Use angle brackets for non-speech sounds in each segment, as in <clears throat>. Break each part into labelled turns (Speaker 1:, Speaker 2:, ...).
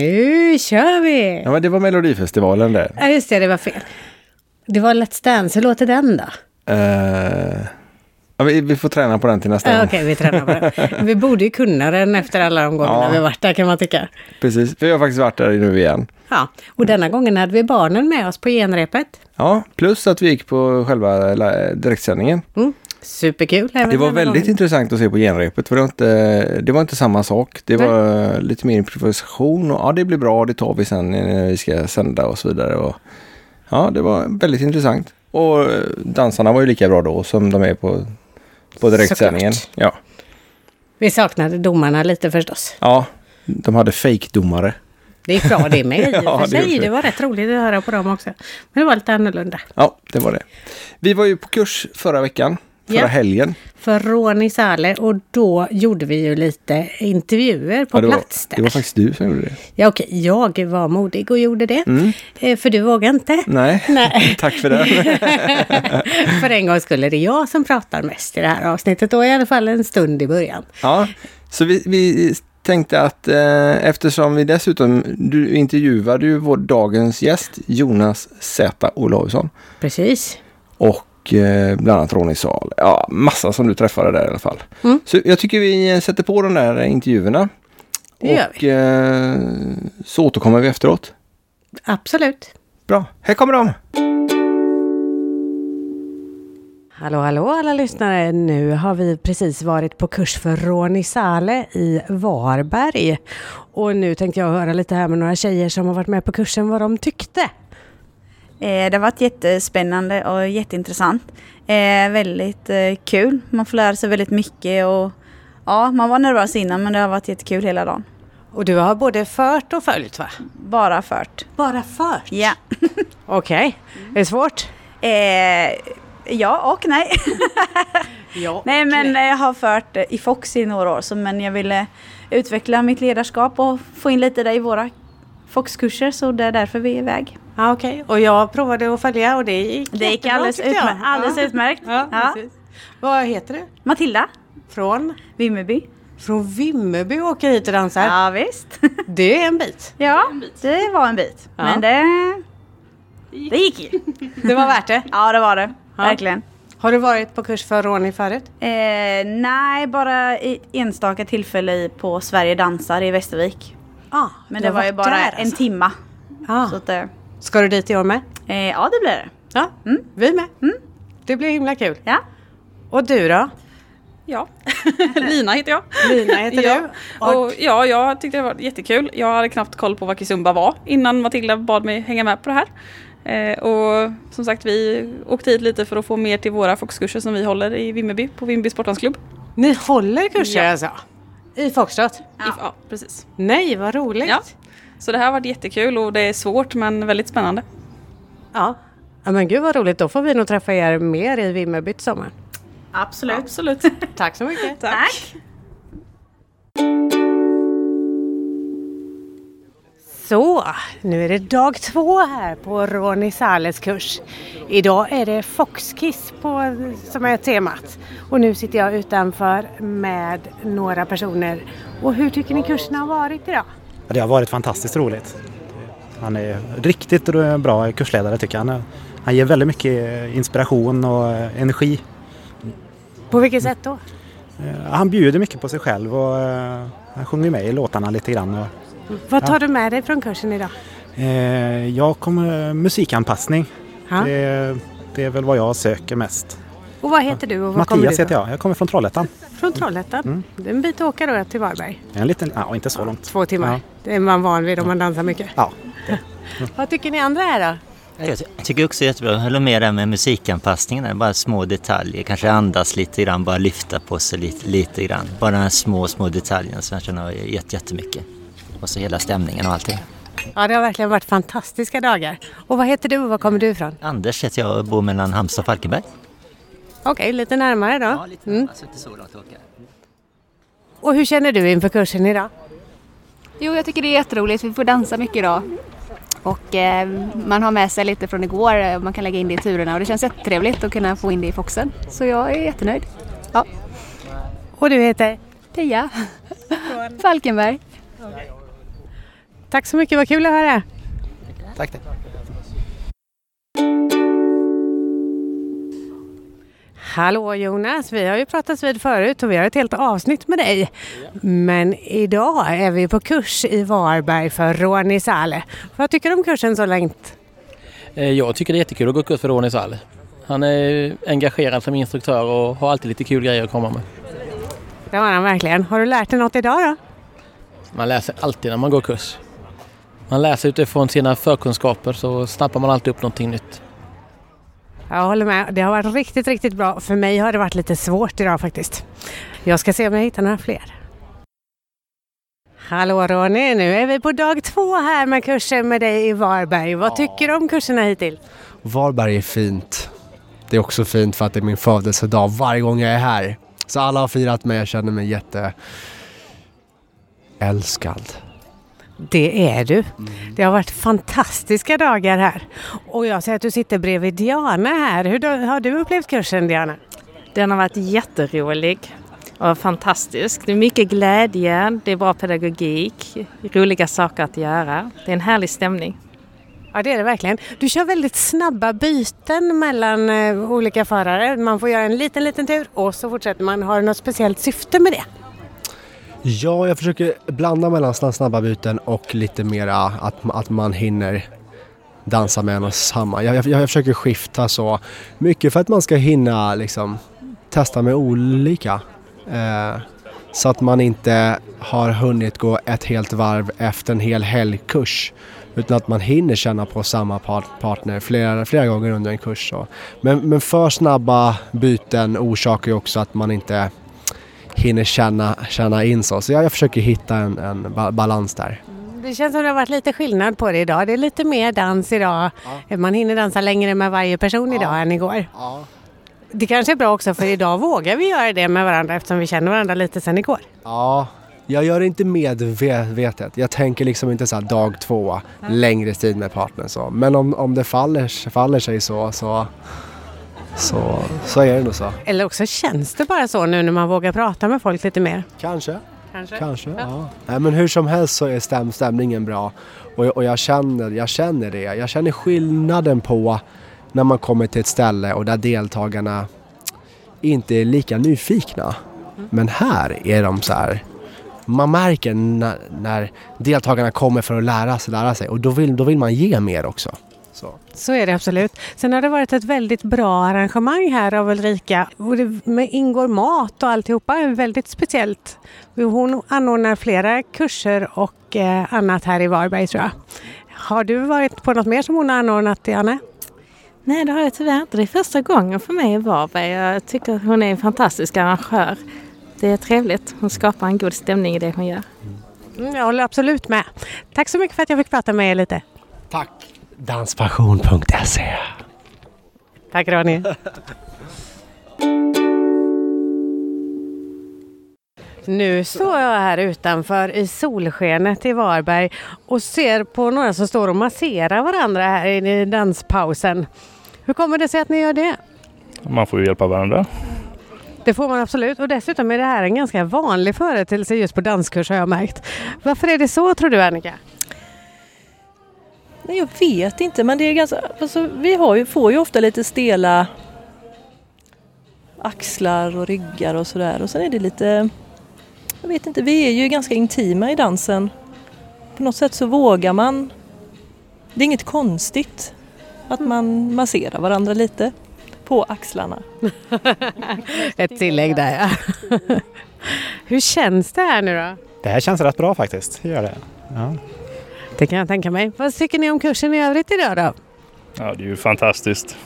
Speaker 1: Nu kör vi!
Speaker 2: Ja, men det var Melodifestivalen det.
Speaker 1: Ja, just det, det var fel. Det var Let's Dance, hur låter den då?
Speaker 2: Eh, ja, vi, vi får träna på den till nästa
Speaker 1: Ja, Okej,
Speaker 2: gång.
Speaker 1: vi tränar på den. Vi borde ju kunna den efter alla de gångerna
Speaker 2: Ja.
Speaker 1: vi varit där kan man tycka.
Speaker 2: Precis, för jag har faktiskt varit där nu igen.
Speaker 1: Ja, och denna gången hade vi barnen med oss på genrepet.
Speaker 2: Ja, plus att vi gick på själva la- direktsändningen.
Speaker 1: Mm. Superkul. även
Speaker 2: Det var
Speaker 1: denna
Speaker 2: väldigt
Speaker 1: gången.
Speaker 2: intressant att se på genrepet för det var inte, det var inte samma sak. Det
Speaker 1: Nej.
Speaker 2: var lite mer improvisation och ja, det blir bra, det tar vi sen när vi ska sända och så vidare. Och, ja, det var väldigt intressant. Och eh, dansarna var ju lika bra då som de är på, på direktsändningen. Ja.
Speaker 1: Vi saknade domarna lite förstås.
Speaker 2: ja, de hade fejkdomare.
Speaker 1: Det gick bra det
Speaker 2: <laughs>
Speaker 1: med i och
Speaker 2: Ja,
Speaker 1: för
Speaker 2: det
Speaker 1: sig.
Speaker 2: gjorde
Speaker 1: Det
Speaker 2: det.
Speaker 1: var rätt roligt att höra på dem också. Men det var lite annorlunda.
Speaker 2: Ja, det var det. Vi var ju på kurs förra veckan, förra
Speaker 1: Ja.
Speaker 2: helgen.
Speaker 1: För Ronny Saleh och då gjorde vi ju lite intervjuer på
Speaker 2: Ja, det, var,
Speaker 1: plats där.
Speaker 2: det var faktiskt du som gjorde det.
Speaker 1: Ja okej, jag var modig och gjorde det. Eh, För du vågar inte. <laughs>
Speaker 2: Nej, <laughs>
Speaker 1: Nej.
Speaker 2: tack för det.
Speaker 1: <laughs> för en gång skulle det är jag som pratar mest i det här avsnittet och i alla fall en stund i början.
Speaker 2: Ja, så vi, vi tänkte att eh, eftersom vi dessutom, du intervjuade ju vår dagens gäst Jonas Z Olausson
Speaker 1: Precis.
Speaker 2: och eh, bland annat Ronny Sal. Ja, massa som du träffade där i alla fall.
Speaker 1: Mm.
Speaker 2: Så jag tycker vi eh, sätter på de där intervjuerna.
Speaker 1: Det gör
Speaker 2: och eh, så återkommer vi efteråt.
Speaker 1: Absolut.
Speaker 2: Bra, här kommer de!
Speaker 1: Hallå, hallå alla lyssnare. Nu har vi precis varit på kurs för Ronny Sale i Varberg. Och nu tänkte jag höra lite här med några tjejer som har varit med på kursen vad de tyckte.
Speaker 3: Eh, Det har varit jättespännande och jätteintressant. Eh, väldigt eh, kul. Man får lära sig väldigt mycket och ja, man var nervös innan men det har varit jättekul hela dagen.
Speaker 1: Och du har både fört och följt va?
Speaker 3: Bara fört.
Speaker 1: Bara fört?
Speaker 3: Ja.
Speaker 1: Okej. Är det svårt?
Speaker 3: Eh, ja och nej. <laughs>
Speaker 1: Ja.
Speaker 3: nej men eh, jag har fört eh, i Fox i några år så men jag ville utveckla mitt ledarskap och få in lite det i våra Fox-kurser så det är därför vi är iväg.
Speaker 1: Ja, Okej, och jag provade att följa och det gick
Speaker 3: Det gick
Speaker 1: jättebra,
Speaker 3: alldeles,
Speaker 1: tyckte jag.
Speaker 3: utmär- alldeles
Speaker 1: ja.
Speaker 3: utmärkt.
Speaker 1: Ja,
Speaker 3: Ja.
Speaker 1: precis. Vad heter du?
Speaker 3: Matilda,
Speaker 1: Från?
Speaker 3: Vimmerby.
Speaker 1: Från Vimmerby åker hit och dansar.
Speaker 3: Ja, visst. <laughs>
Speaker 1: Det är en bit.
Speaker 3: Ja, det var en bit.
Speaker 1: Ja.
Speaker 3: Men det... Det gick ju.
Speaker 1: Det var
Speaker 3: <laughs>
Speaker 1: värt det.
Speaker 3: Ja, det var det.
Speaker 1: Ja.
Speaker 3: Verkligen.
Speaker 1: Har du varit på kurs för Ronny förut?
Speaker 3: Eh, nej, bara i enstaka tillfälle i- på Sverige dansar i Västervik.
Speaker 1: Ja,
Speaker 3: Men det var ju bara en timma.
Speaker 1: alltså. Ja.
Speaker 3: Så att, eh,
Speaker 1: Ska du dit i år med?
Speaker 3: eh, ja, Mm. det blir det.
Speaker 1: Ja, vi med. Det blir himla kul.
Speaker 3: Ja.
Speaker 1: Och du då?
Speaker 4: Ja, <laughs> Lina heter jag.
Speaker 1: Lina
Speaker 3: <laughs>
Speaker 1: heter du.
Speaker 4: ja. Och ja, jag tyckte det var jättekul. Jag hade knappt koll på vad Kizumba var innan Matilda bad mig hänga med på det här. Eh, och som sagt, vi åkte hit lite för att få mer till våra fokuskurser som vi håller i Vimmerby på Vimmerby Sportlandsklubb.
Speaker 1: Ni håller kurser
Speaker 4: Ja.
Speaker 1: alltså? I Foxtrot?
Speaker 4: Ja. ja, precis.
Speaker 1: Nej, vad roligt.
Speaker 4: Ja. Så det här har varit jättekul och det är svårt men väldigt spännande.
Speaker 1: ja. Ja, men gud vad roligt. Då får vi nog träffa er mer i Vimmerby till sommaren.
Speaker 3: Absolut.
Speaker 4: Absolut.
Speaker 1: Tack så mycket.
Speaker 3: Tack.
Speaker 1: Så, nu är det dag två här på Ronny Sales kurs. Idag är det Foxkiss på, som är temat. Och nu sitter jag utanför med några personer. Och hur tycker ni kursen har varit idag?
Speaker 5: Ja, Det har varit fantastiskt roligt. Han är riktigt bra kursledare tycker jag. Han är- Han ger väldigt mycket eh, inspiration och eh, energi.
Speaker 1: På vilket sätt då?
Speaker 5: Eh, Han bjuder mycket på sig själv och eh, han sjunger med i låtarna lite grann. och,
Speaker 1: Vad tar du med dig från kursen idag?
Speaker 5: eh, Jag kommer musikanpassning.
Speaker 1: Ja.
Speaker 5: Det, är- det är väl vad jag söker mest.
Speaker 1: Och vad heter du och var kommer
Speaker 5: Mattias
Speaker 1: du
Speaker 5: heter
Speaker 1: ifrån?
Speaker 5: jag. Mm. Jag kommer från Trollhättan.
Speaker 1: Från Trollhättan. Det är en bit att åka då till Varberg.
Speaker 5: En liten, ja, inte så långt.
Speaker 1: Två timmar.
Speaker 5: Ja.
Speaker 1: Det är man van vid om man dansar mycket.
Speaker 5: Ja.
Speaker 1: Vad tycker ni andra här då?
Speaker 6: Ja, Jag ty- tycker också det är jättebra. Jag håller med där med musikanpassningen. Där. Bara små detaljer. Kanske andas lite grann, bara lyfta på sig lite, lite grann. Bara de här små, små detaljerna som jag känner har gett jättemycket. Och så hela stämningen och allting.
Speaker 1: Ja, det har verkligen varit fantastiska dagar. Och vad heter du och var kommer du ifrån?
Speaker 6: Anders heter jag och bor mellan Halmstad och Falkenberg.
Speaker 1: Okej, lite närmare då.
Speaker 6: lite mm. alltså, inte så långt att åka.
Speaker 1: Och hur känner du inför kursen idag?
Speaker 7: Jo, jag tycker det är jätteroligt. Vi får dansa mycket idag. Och eh, man har med sig lite från igår. eh, Man kan lägga in det i turerna och det känns jättetrevligt att kunna få in det i Foxen. Så jag är jättenöjd. Ja,
Speaker 1: Och du heter?
Speaker 7: Pia Falkenberg.
Speaker 1: Tack så mycket, vad kul att höra.
Speaker 5: Tack, tack.
Speaker 1: Hallå Jonas, vi har ju pratats vid förut och vi har ett helt avsnitt med dig. Men idag är vi på kurs i Varberg för Ronny Saleh. Vad tycker du om kursen så långt?
Speaker 8: Eh, Jag tycker det är jättekul att gå kurs för Ronny Sall. Han är engagerad som instruktör och har alltid lite kul grejer att komma med.
Speaker 1: Det har han verkligen. Har du lärt dig något idag då?
Speaker 8: Man läser alltid när man går kurs. Man läser utifrån sina förkunskaper så snappar man alltid upp någonting nytt.
Speaker 1: Jag håller med. Det har varit riktigt, riktigt bra. För mig har det varit lite svårt idag faktiskt. Jag ska se om jag hittar några fler. Hallå Ronny, nu är vi på dag två här med kursen med dig i Varberg. Vad tycker du om kurserna hittills?
Speaker 9: Varberg är fint. Det är också fint för att det är min födelsedag varje gång jag är här. Så alla har firat mig, jag känner mig jätte... älskad.
Speaker 1: Det är du. Det har varit fantastiska dagar här. Och jag ser att du sitter bredvid Diana här. Hur då- har du upplevt kursen Diana?
Speaker 4: <laughs> Den har varit jätterolig och fantastisk. Det är mycket glädje, det är bra pedagogik, roliga saker att göra. Det är en härlig stämning.
Speaker 1: Ja det är det verkligen. Du kör väldigt snabba byten mellan eh, olika förare. Man får göra en liten, liten tur och så fortsätter man. Har du något speciellt syfte med det?
Speaker 9: Ja, jag försöker blanda mellan sna- snabba byten och lite mera att, att man hinner dansa med en och samma. Jag, jag, jag försöker skifta så mycket för att man ska hinna liksom, testa med olika. Eh, så att man inte har hunnit gå ett helt varv efter en hel helgkurs. Utan att man hinner känna på samma par- partner flera, flera gånger under en kurs. Så. Men, men för snabba byten orsakar ju också att man inte hinner känna, känna in så. Så jag, jag försöker hitta en, en ba- balans där.
Speaker 1: Det känns som det har varit lite skillnad på det idag. Det är lite mer dans idag. Man hinner dansa längre med varje person idag än igår.
Speaker 9: Ja.
Speaker 1: Det kanske är bra också för idag vågar vi göra det med varandra eftersom vi känner varandra lite sedan igår.
Speaker 9: ja. Jag gör det inte medvetet. Jag tänker liksom inte så här dag två, längre tid med partnern så. Men om, om det faller, faller sig så, så, så, så är det nog så.
Speaker 1: Eller också känns det bara så nu när man vågar prata med folk lite mer.
Speaker 9: Kanske.
Speaker 1: Kanske.
Speaker 9: Kanske, ja. Nej, men hur som helst så är stäm, stämningen bra. Och, jag- och jag, känner, jag känner det. Jag känner skillnaden på när man kommer till ett ställe och där deltagarna inte är lika nyfikna. Men här är de så här. Man märker när, när deltagarna kommer för att lära sig, lära sig och då vill, då vill man ge mer också. Så.
Speaker 1: Så är det absolut. Sen har det varit ett väldigt bra arrangemang här av Ulrika. Och det med ingår mat och alltihopa. är Väldigt speciellt. Hon anordnar flera kurser och eh, annat här i Varberg tror jag. Har du varit på något mer som hon har anordnat, Janne?
Speaker 4: Nej, det har jag tyvärr inte. Det är första gången för mig i Varberg. Jag tycker hon är en fantastisk arrangör. Det är trevligt. Hon skapar en god stämning i det hon gör.
Speaker 1: Mm, jag håller absolut med. Tack så mycket för att jag fick prata med er lite.
Speaker 9: Tack! Danspassion.se
Speaker 1: Tack Ronny. Nu står jag här utanför i solskenet i Varberg och ser på några som står och masserar varandra här i danspausen. Hur kommer det sig att ni gör det?
Speaker 7: Man får ju hjälpa varandra.
Speaker 1: Det får man absolut och dessutom är det här en ganska vanlig företeelse just på danskurs har jag märkt. Varför är det så tror du Annika?
Speaker 10: Nej, jag vet inte, men det är ganska... Alltså, vi har ju, får ju ofta lite stela axlar och ryggar och sådär. Och sen är det lite... Jag vet inte, vi är ju ganska intima i dansen. På något sätt så vågar man... Det är inget konstigt att man masserar varandra lite på axlarna.
Speaker 1: Ett tillägg där ja. <laughs> Hur känns det här nu då?
Speaker 5: Det här känns rätt bra faktiskt. Det Gör det. Ja.
Speaker 1: Det kan jag tänka mig. Vad tycker ni om kursen i övrigt idag då?
Speaker 7: Ja, det är ju fantastiskt.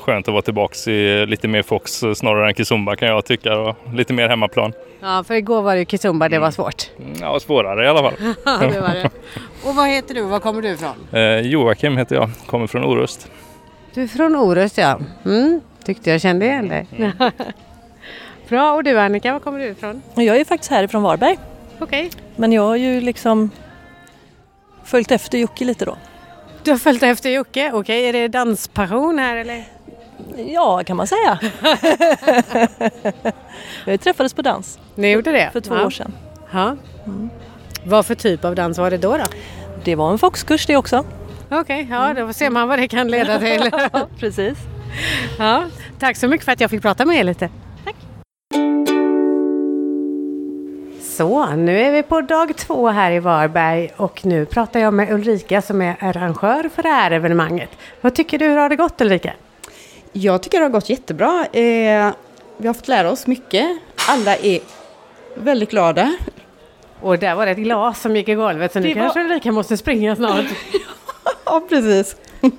Speaker 7: Skönt att vara tillbaka i lite mer Fox snarare än Kizumba kan jag tycka. Och lite mer hemmaplan.
Speaker 1: Ja, för igår var det ju kizumba, det var svårt.
Speaker 7: Ja, svårare i alla fall.
Speaker 1: Ja, det var det. Och vad heter du? Var kommer du ifrån?
Speaker 7: Eh, Joakim heter jag, kommer från Orust.
Speaker 1: Du är från Orust, ja. Mm, tyckte jag kände igen dig. <laughs> Bra, och du Annika, var kommer du ifrån?
Speaker 10: Och jag är faktiskt härifrån Varberg,
Speaker 1: Okej.
Speaker 10: men jag har ju liksom följt efter Jocke lite då.
Speaker 1: Du har följt efter Jocke, okej. Är det danspassion här eller?
Speaker 10: Ja, kan man
Speaker 1: <laughs>
Speaker 10: säga. <laughs> Vi träffades på dans
Speaker 1: Ni gjorde det?
Speaker 10: för två
Speaker 1: ja.
Speaker 10: år sedan.
Speaker 1: Ja.
Speaker 11: Vad för typ av dans var det då? då?
Speaker 12: Det var en foxkurs det också.
Speaker 11: Okej, ja
Speaker 1: Mm.
Speaker 11: då ser man vad det kan leda
Speaker 1: <laughs>
Speaker 11: till.
Speaker 12: Precis.
Speaker 11: Ja, tack så mycket för att jag fick prata med er lite.
Speaker 1: Så, nu är vi på dag två här i Varberg och nu pratar jag med Ulrika som är arrangör för det här evenemanget. Vad tycker du, hur har det gått Ulrika?
Speaker 4: Jag tycker det har gått jättebra. Eh, vi har fått lära oss mycket. Alla är väldigt glada.
Speaker 1: Och där var det ett glas som gick i golvet så nu
Speaker 4: Det var-
Speaker 1: kanske Ulrika måste springa snart.
Speaker 4: <laughs> Ja, precis. <laughs>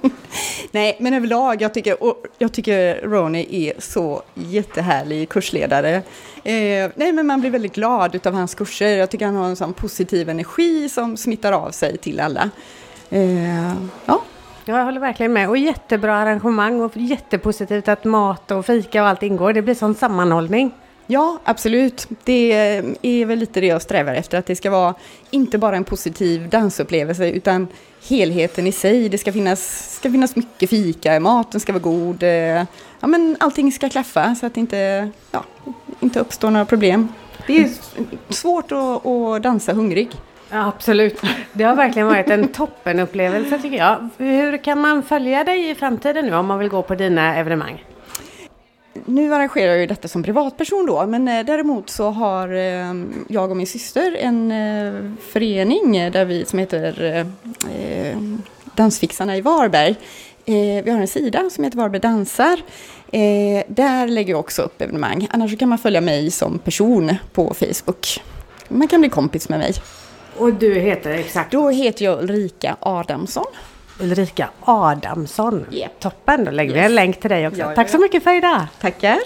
Speaker 4: Nej, men överlag, jag tycker, och jag tycker Ronny är så jättehärlig kursledare. Eh, nej, men man blir väldigt glad utav hans kurser. Jag tycker han har en sån positiv energi som smittar av sig till alla. Eh, ja.
Speaker 1: Ja, jag håller verkligen med. Och jättebra arrangemang och jättepositivt att mat och fika och allt ingår. Det blir sån sammanhållning.
Speaker 4: Ja, absolut. Det är väl lite det jag strävar efter, att det ska vara inte bara en positiv dansupplevelse, utan helheten i sig. Det ska finnas, ska finnas mycket fika, maten ska vara god, eh, ja, men allting ska klaffa så att det inte, ja, inte uppstår några problem. Det är s- svårt att, att dansa hungrig.
Speaker 1: Ja, absolut. Det har verkligen varit en toppenupplevelse tycker jag. Hur kan man följa dig i framtiden nu om man vill gå på dina evenemang?
Speaker 4: Nu arrangerar jag ju detta som privatperson då, men eh, däremot så har eh, jag och min syster en eh, förening där vi, som heter eh, eh, Dansfixarna i Varberg. Eh, vi har en sida som heter Varberg Dansar. Eh, där lägger jag också upp evenemang. Annars så kan man följa mig som person på Facebook. Man kan bli kompis med mig.
Speaker 1: Och du heter exakt?
Speaker 4: Då heter jag Ulrika Adamsson.
Speaker 1: Ulrika Adamsson. Toppen, då lägger vi
Speaker 4: Yes.
Speaker 1: en länk till dig också.
Speaker 4: Ja, ja,
Speaker 1: Tack så
Speaker 4: ja.
Speaker 1: mycket för idag.
Speaker 4: Tackar.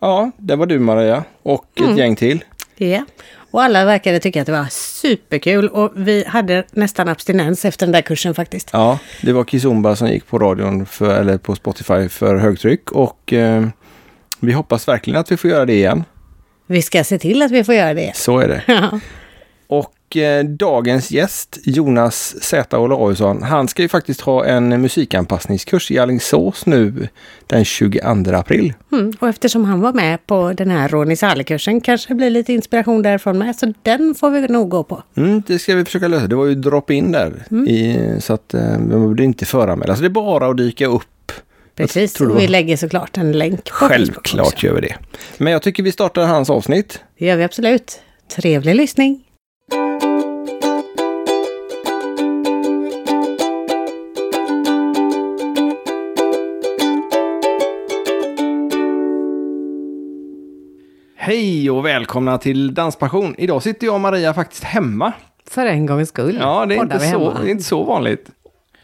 Speaker 2: Ja, där var du Maria och ett
Speaker 11: Mm.
Speaker 2: gäng till.
Speaker 11: Ja. Och alla verkade tycka att det var superkul och vi hade nästan abstinens efter den där kursen faktiskt.
Speaker 2: Ja, det var Kizomba som gick på radion för, eller på Spotify för högtryck och eh, vi hoppas verkligen att vi får göra det igen.
Speaker 11: Vi ska se till att vi får göra det.
Speaker 2: Så är det.
Speaker 11: <laughs> Ja.
Speaker 2: Och eh, dagens gäst, Jonas Z. Olausson, han ska ju faktiskt ha en musikanpassningskurs i Alingsås nu den 22 april.
Speaker 11: Mm. Och eftersom han var med på den här Ronny Salle-kursen kanske det blir lite inspiration därifrån med. Så den får vi nog gå på.
Speaker 2: Mm, det ska vi försöka lösa. Det var ju drop-in där.
Speaker 11: Mm.
Speaker 2: I, så att eh, man behövde inte föranmäla. Så det är bara att dyka upp. Jag
Speaker 11: Precis,
Speaker 2: tror det
Speaker 11: och
Speaker 2: var-
Speaker 11: vi lägger såklart en länk. på Facebook.
Speaker 2: Självklart gör vi det. Men jag tycker vi startar hans avsnitt.
Speaker 11: Det gör vi absolut. Trevlig lyssning!
Speaker 2: Hej och välkomna till Danspassion. Idag sitter jag och Maria faktiskt hemma.
Speaker 1: För en gångs skull.
Speaker 2: Ja, det är,
Speaker 1: poddar
Speaker 2: inte
Speaker 1: vi
Speaker 2: så,
Speaker 1: hemma.
Speaker 2: det är inte så vanligt.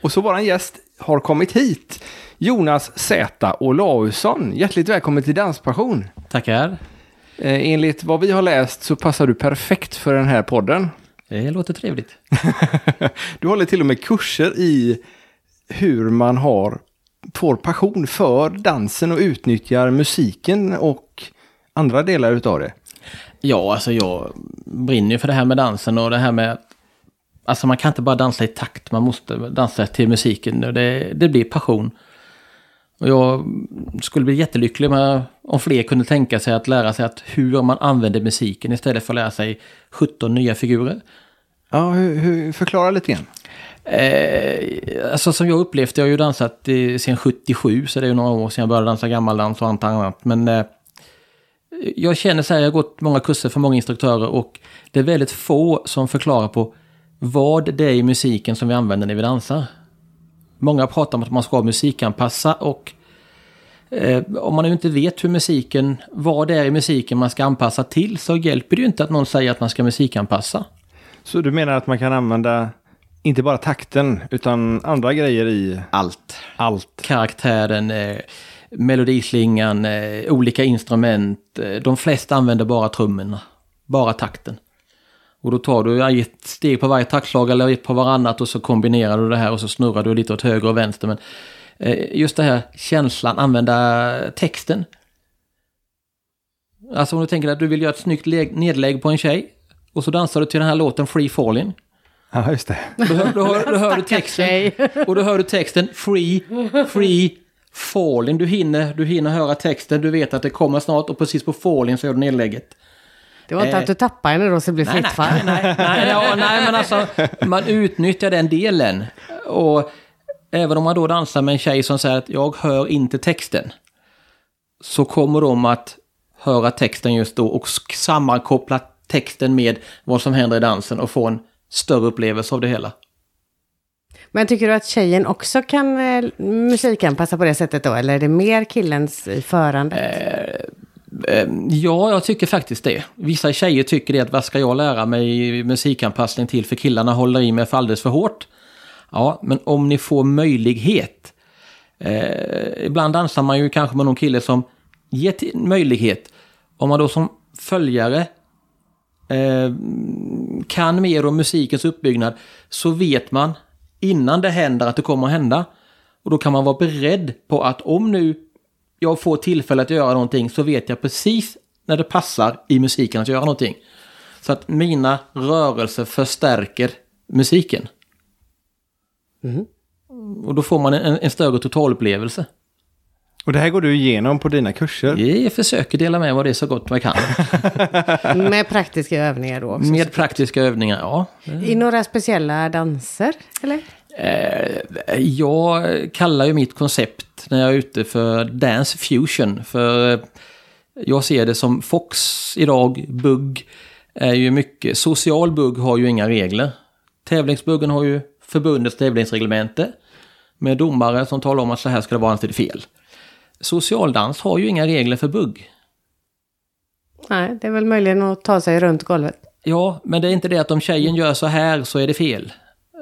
Speaker 2: Och så våran gäst har kommit hit. Jonas Z. Olausson. Hjärtligt välkommen till Danspassion.
Speaker 9: Tackar.
Speaker 2: Eh, enligt vad vi har läst så passar du perfekt för den här podden.
Speaker 9: Det låter trevligt.
Speaker 2: Du håller till och med kurser i hur man har, får passion för dansen och utnyttjar musiken och andra delar utav det.
Speaker 9: Ja, alltså jag brinner ju för det här med dansen och det här med att... Alltså man kan inte bara dansa i takt, man måste dansa till musiken och det, det blir passion. Och jag skulle bli jättelycklig med, om fler kunde tänka sig att lära sig att hur man använder musiken istället för att lära sig 17 nya figurer.
Speaker 2: Ja, hur, förklara lite grann.
Speaker 9: Eh, alltså som jag upplevt, jag har ju dansat eh, sedan 77, så det är ju några år sedan jag började dansa gammaldans och allt annat. Men eh, jag känner så här, jag har gått många kurser för många instruktörer och det är väldigt få som förklarar på vad det är i musiken som vi använder när vi dansar. Många pratar om att man ska musikanpassa och eh, om man ju inte vet hur musiken, vad det är i musiken man ska anpassa till så hjälper det ju inte att någon säger att man ska musikanpassa.
Speaker 2: Så du menar att man kan använda inte bara takten utan andra grejer i...
Speaker 9: Allt.
Speaker 2: Allt.
Speaker 9: Karaktären, eh, melodislingan, eh, olika instrument. Eh, de flesta använder bara trummorna. Bara takten. Och då tar du ett steg på varje taktslag eller ett på varannat och så kombinerar du det här och så snurrar du lite åt höger och vänster. Men eh, just det här känslan, använda texten. Alltså om du tänker att du vill göra ett snyggt le- nedlägg på en tjej och så dansar du till den här låten Free Falling.
Speaker 2: Ja, just det.
Speaker 9: Då hör, då hör, då hör du texten. Och då hör du texten Free, Free, Falling, du hinner, du hinner höra texten, du vet att det kommer snart och precis på falling så gör du nedlägget.
Speaker 13: Det var inte
Speaker 9: Eh,
Speaker 13: att du tappade henne då så det blev
Speaker 9: nej,
Speaker 13: fritt fall.
Speaker 9: Nej, ja, nej, men alltså man utnyttjar den delen. Och även om man då dansar med en tjej som säger att jag hör inte texten. Så kommer de att höra texten just då och sk- sammankoppla texten med vad som händer i dansen och få en större upplevelse av det hela.
Speaker 13: Men tycker du att tjejen också kan eh, musikanpassa på det sättet då? Eller är det mer killens i förandet?
Speaker 9: Eh, Ja, jag tycker faktiskt det. Vissa tjejer tycker det att vad ska jag lära mig musikanpassning till för killarna håller i mig för alldeles för hårt. Ja, men om ni får möjlighet. Eh, ibland dansar man ju kanske med någon kille som gett möjlighet. Om man då som följare eh, kan mer om musikens uppbyggnad så vet man innan det händer att det kommer att hända. Och då kan man vara beredd på att om nu jag får tillfälle att göra någonting så vet jag precis när det passar i musiken att göra någonting. Så att mina rörelser förstärker musiken. Och då får man en, en större totalupplevelse.
Speaker 2: Och det här går du igenom på dina kurser?
Speaker 9: Jag försöker dela med mig av det så gott man kan.
Speaker 2: Eh.
Speaker 13: Med praktiska övningar då också?
Speaker 9: Med praktiska övningar, ja.
Speaker 2: Mm.
Speaker 13: I några speciella danser? Eller?
Speaker 9: Eh, Jag kallar ju mitt koncept när jag är ute för Dance Fusion. För eh, jag ser det som Fox idag, bugg, är ju mycket... Social bugg har ju inga regler. Tävlingsbuggen har ju förbundets tävlingsreglemente. Med domare som talar om att så här ska det vara, annars är det fel. Socialdans har ju inga regler för bugg.
Speaker 13: Nej, det är väl möjligen att ta sig runt golvet.
Speaker 9: Ja, men det är inte det att om tjejen gör så här så är det fel.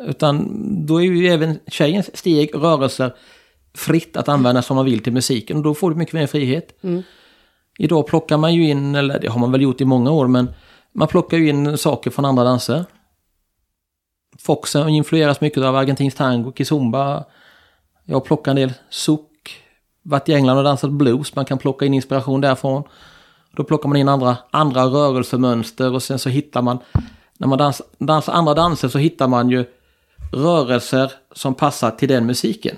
Speaker 9: Utan då är ju även tjejens steg, rörelser fritt att använda som man vill till musiken och då får du mycket mer frihet.
Speaker 13: Mm.
Speaker 9: Idag plockar man ju in, eller det har man väl gjort i många år, men man plockar ju in saker från andra danser. Foxen influeras mycket av argentinsk tango, kizomba. Jag plockar en del souk. Varit i England och dansat blues, man kan plocka in inspiration därifrån. Då plockar man in andra, andra rörelsemönster och sen så hittar man, när man dans, dansar andra danser så hittar man ju rörelser som passar till den musiken.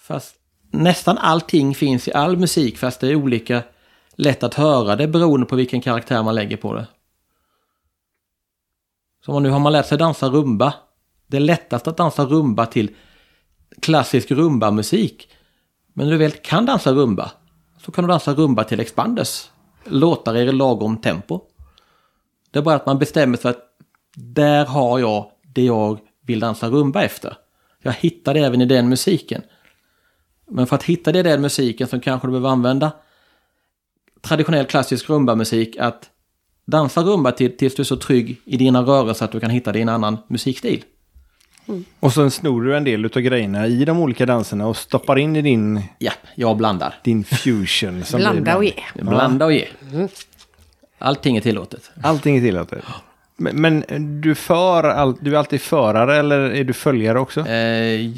Speaker 9: Fast nästan allting finns i all musik fast det är olika lätt att höra det beroende på vilken karaktär man lägger på det. Så om man nu har man lärt sig dansa rumba. Det är lättast att dansa rumba till klassisk rumbamusik. Men när du väl kan dansa rumba så kan du dansa rumba till Expanders. Låtar i lagom tempo. Det är bara att man bestämmer sig för att där har jag det jag vill dansa rumba efter. Jag hittar det även i den musiken. Men för att hitta det i den musiken så kanske du behöver använda traditionell klassisk rumbamusik att dansa rumba till, tills du är så trygg i dina rörelser att du kan hitta din annan musikstil.
Speaker 2: Och sen snor du en del av grejerna i de olika danserna och stoppar in i din...
Speaker 9: Ja, jag blandar.
Speaker 2: Din fusion. som
Speaker 13: Blanda
Speaker 2: vi ibland-
Speaker 13: och ge.
Speaker 2: Ja.
Speaker 9: Blanda och ge. Allting är tillåtet.
Speaker 2: Allting är tillåtet. Men, men du, för all, du är alltid förare eller är du följare också?
Speaker 9: Eh,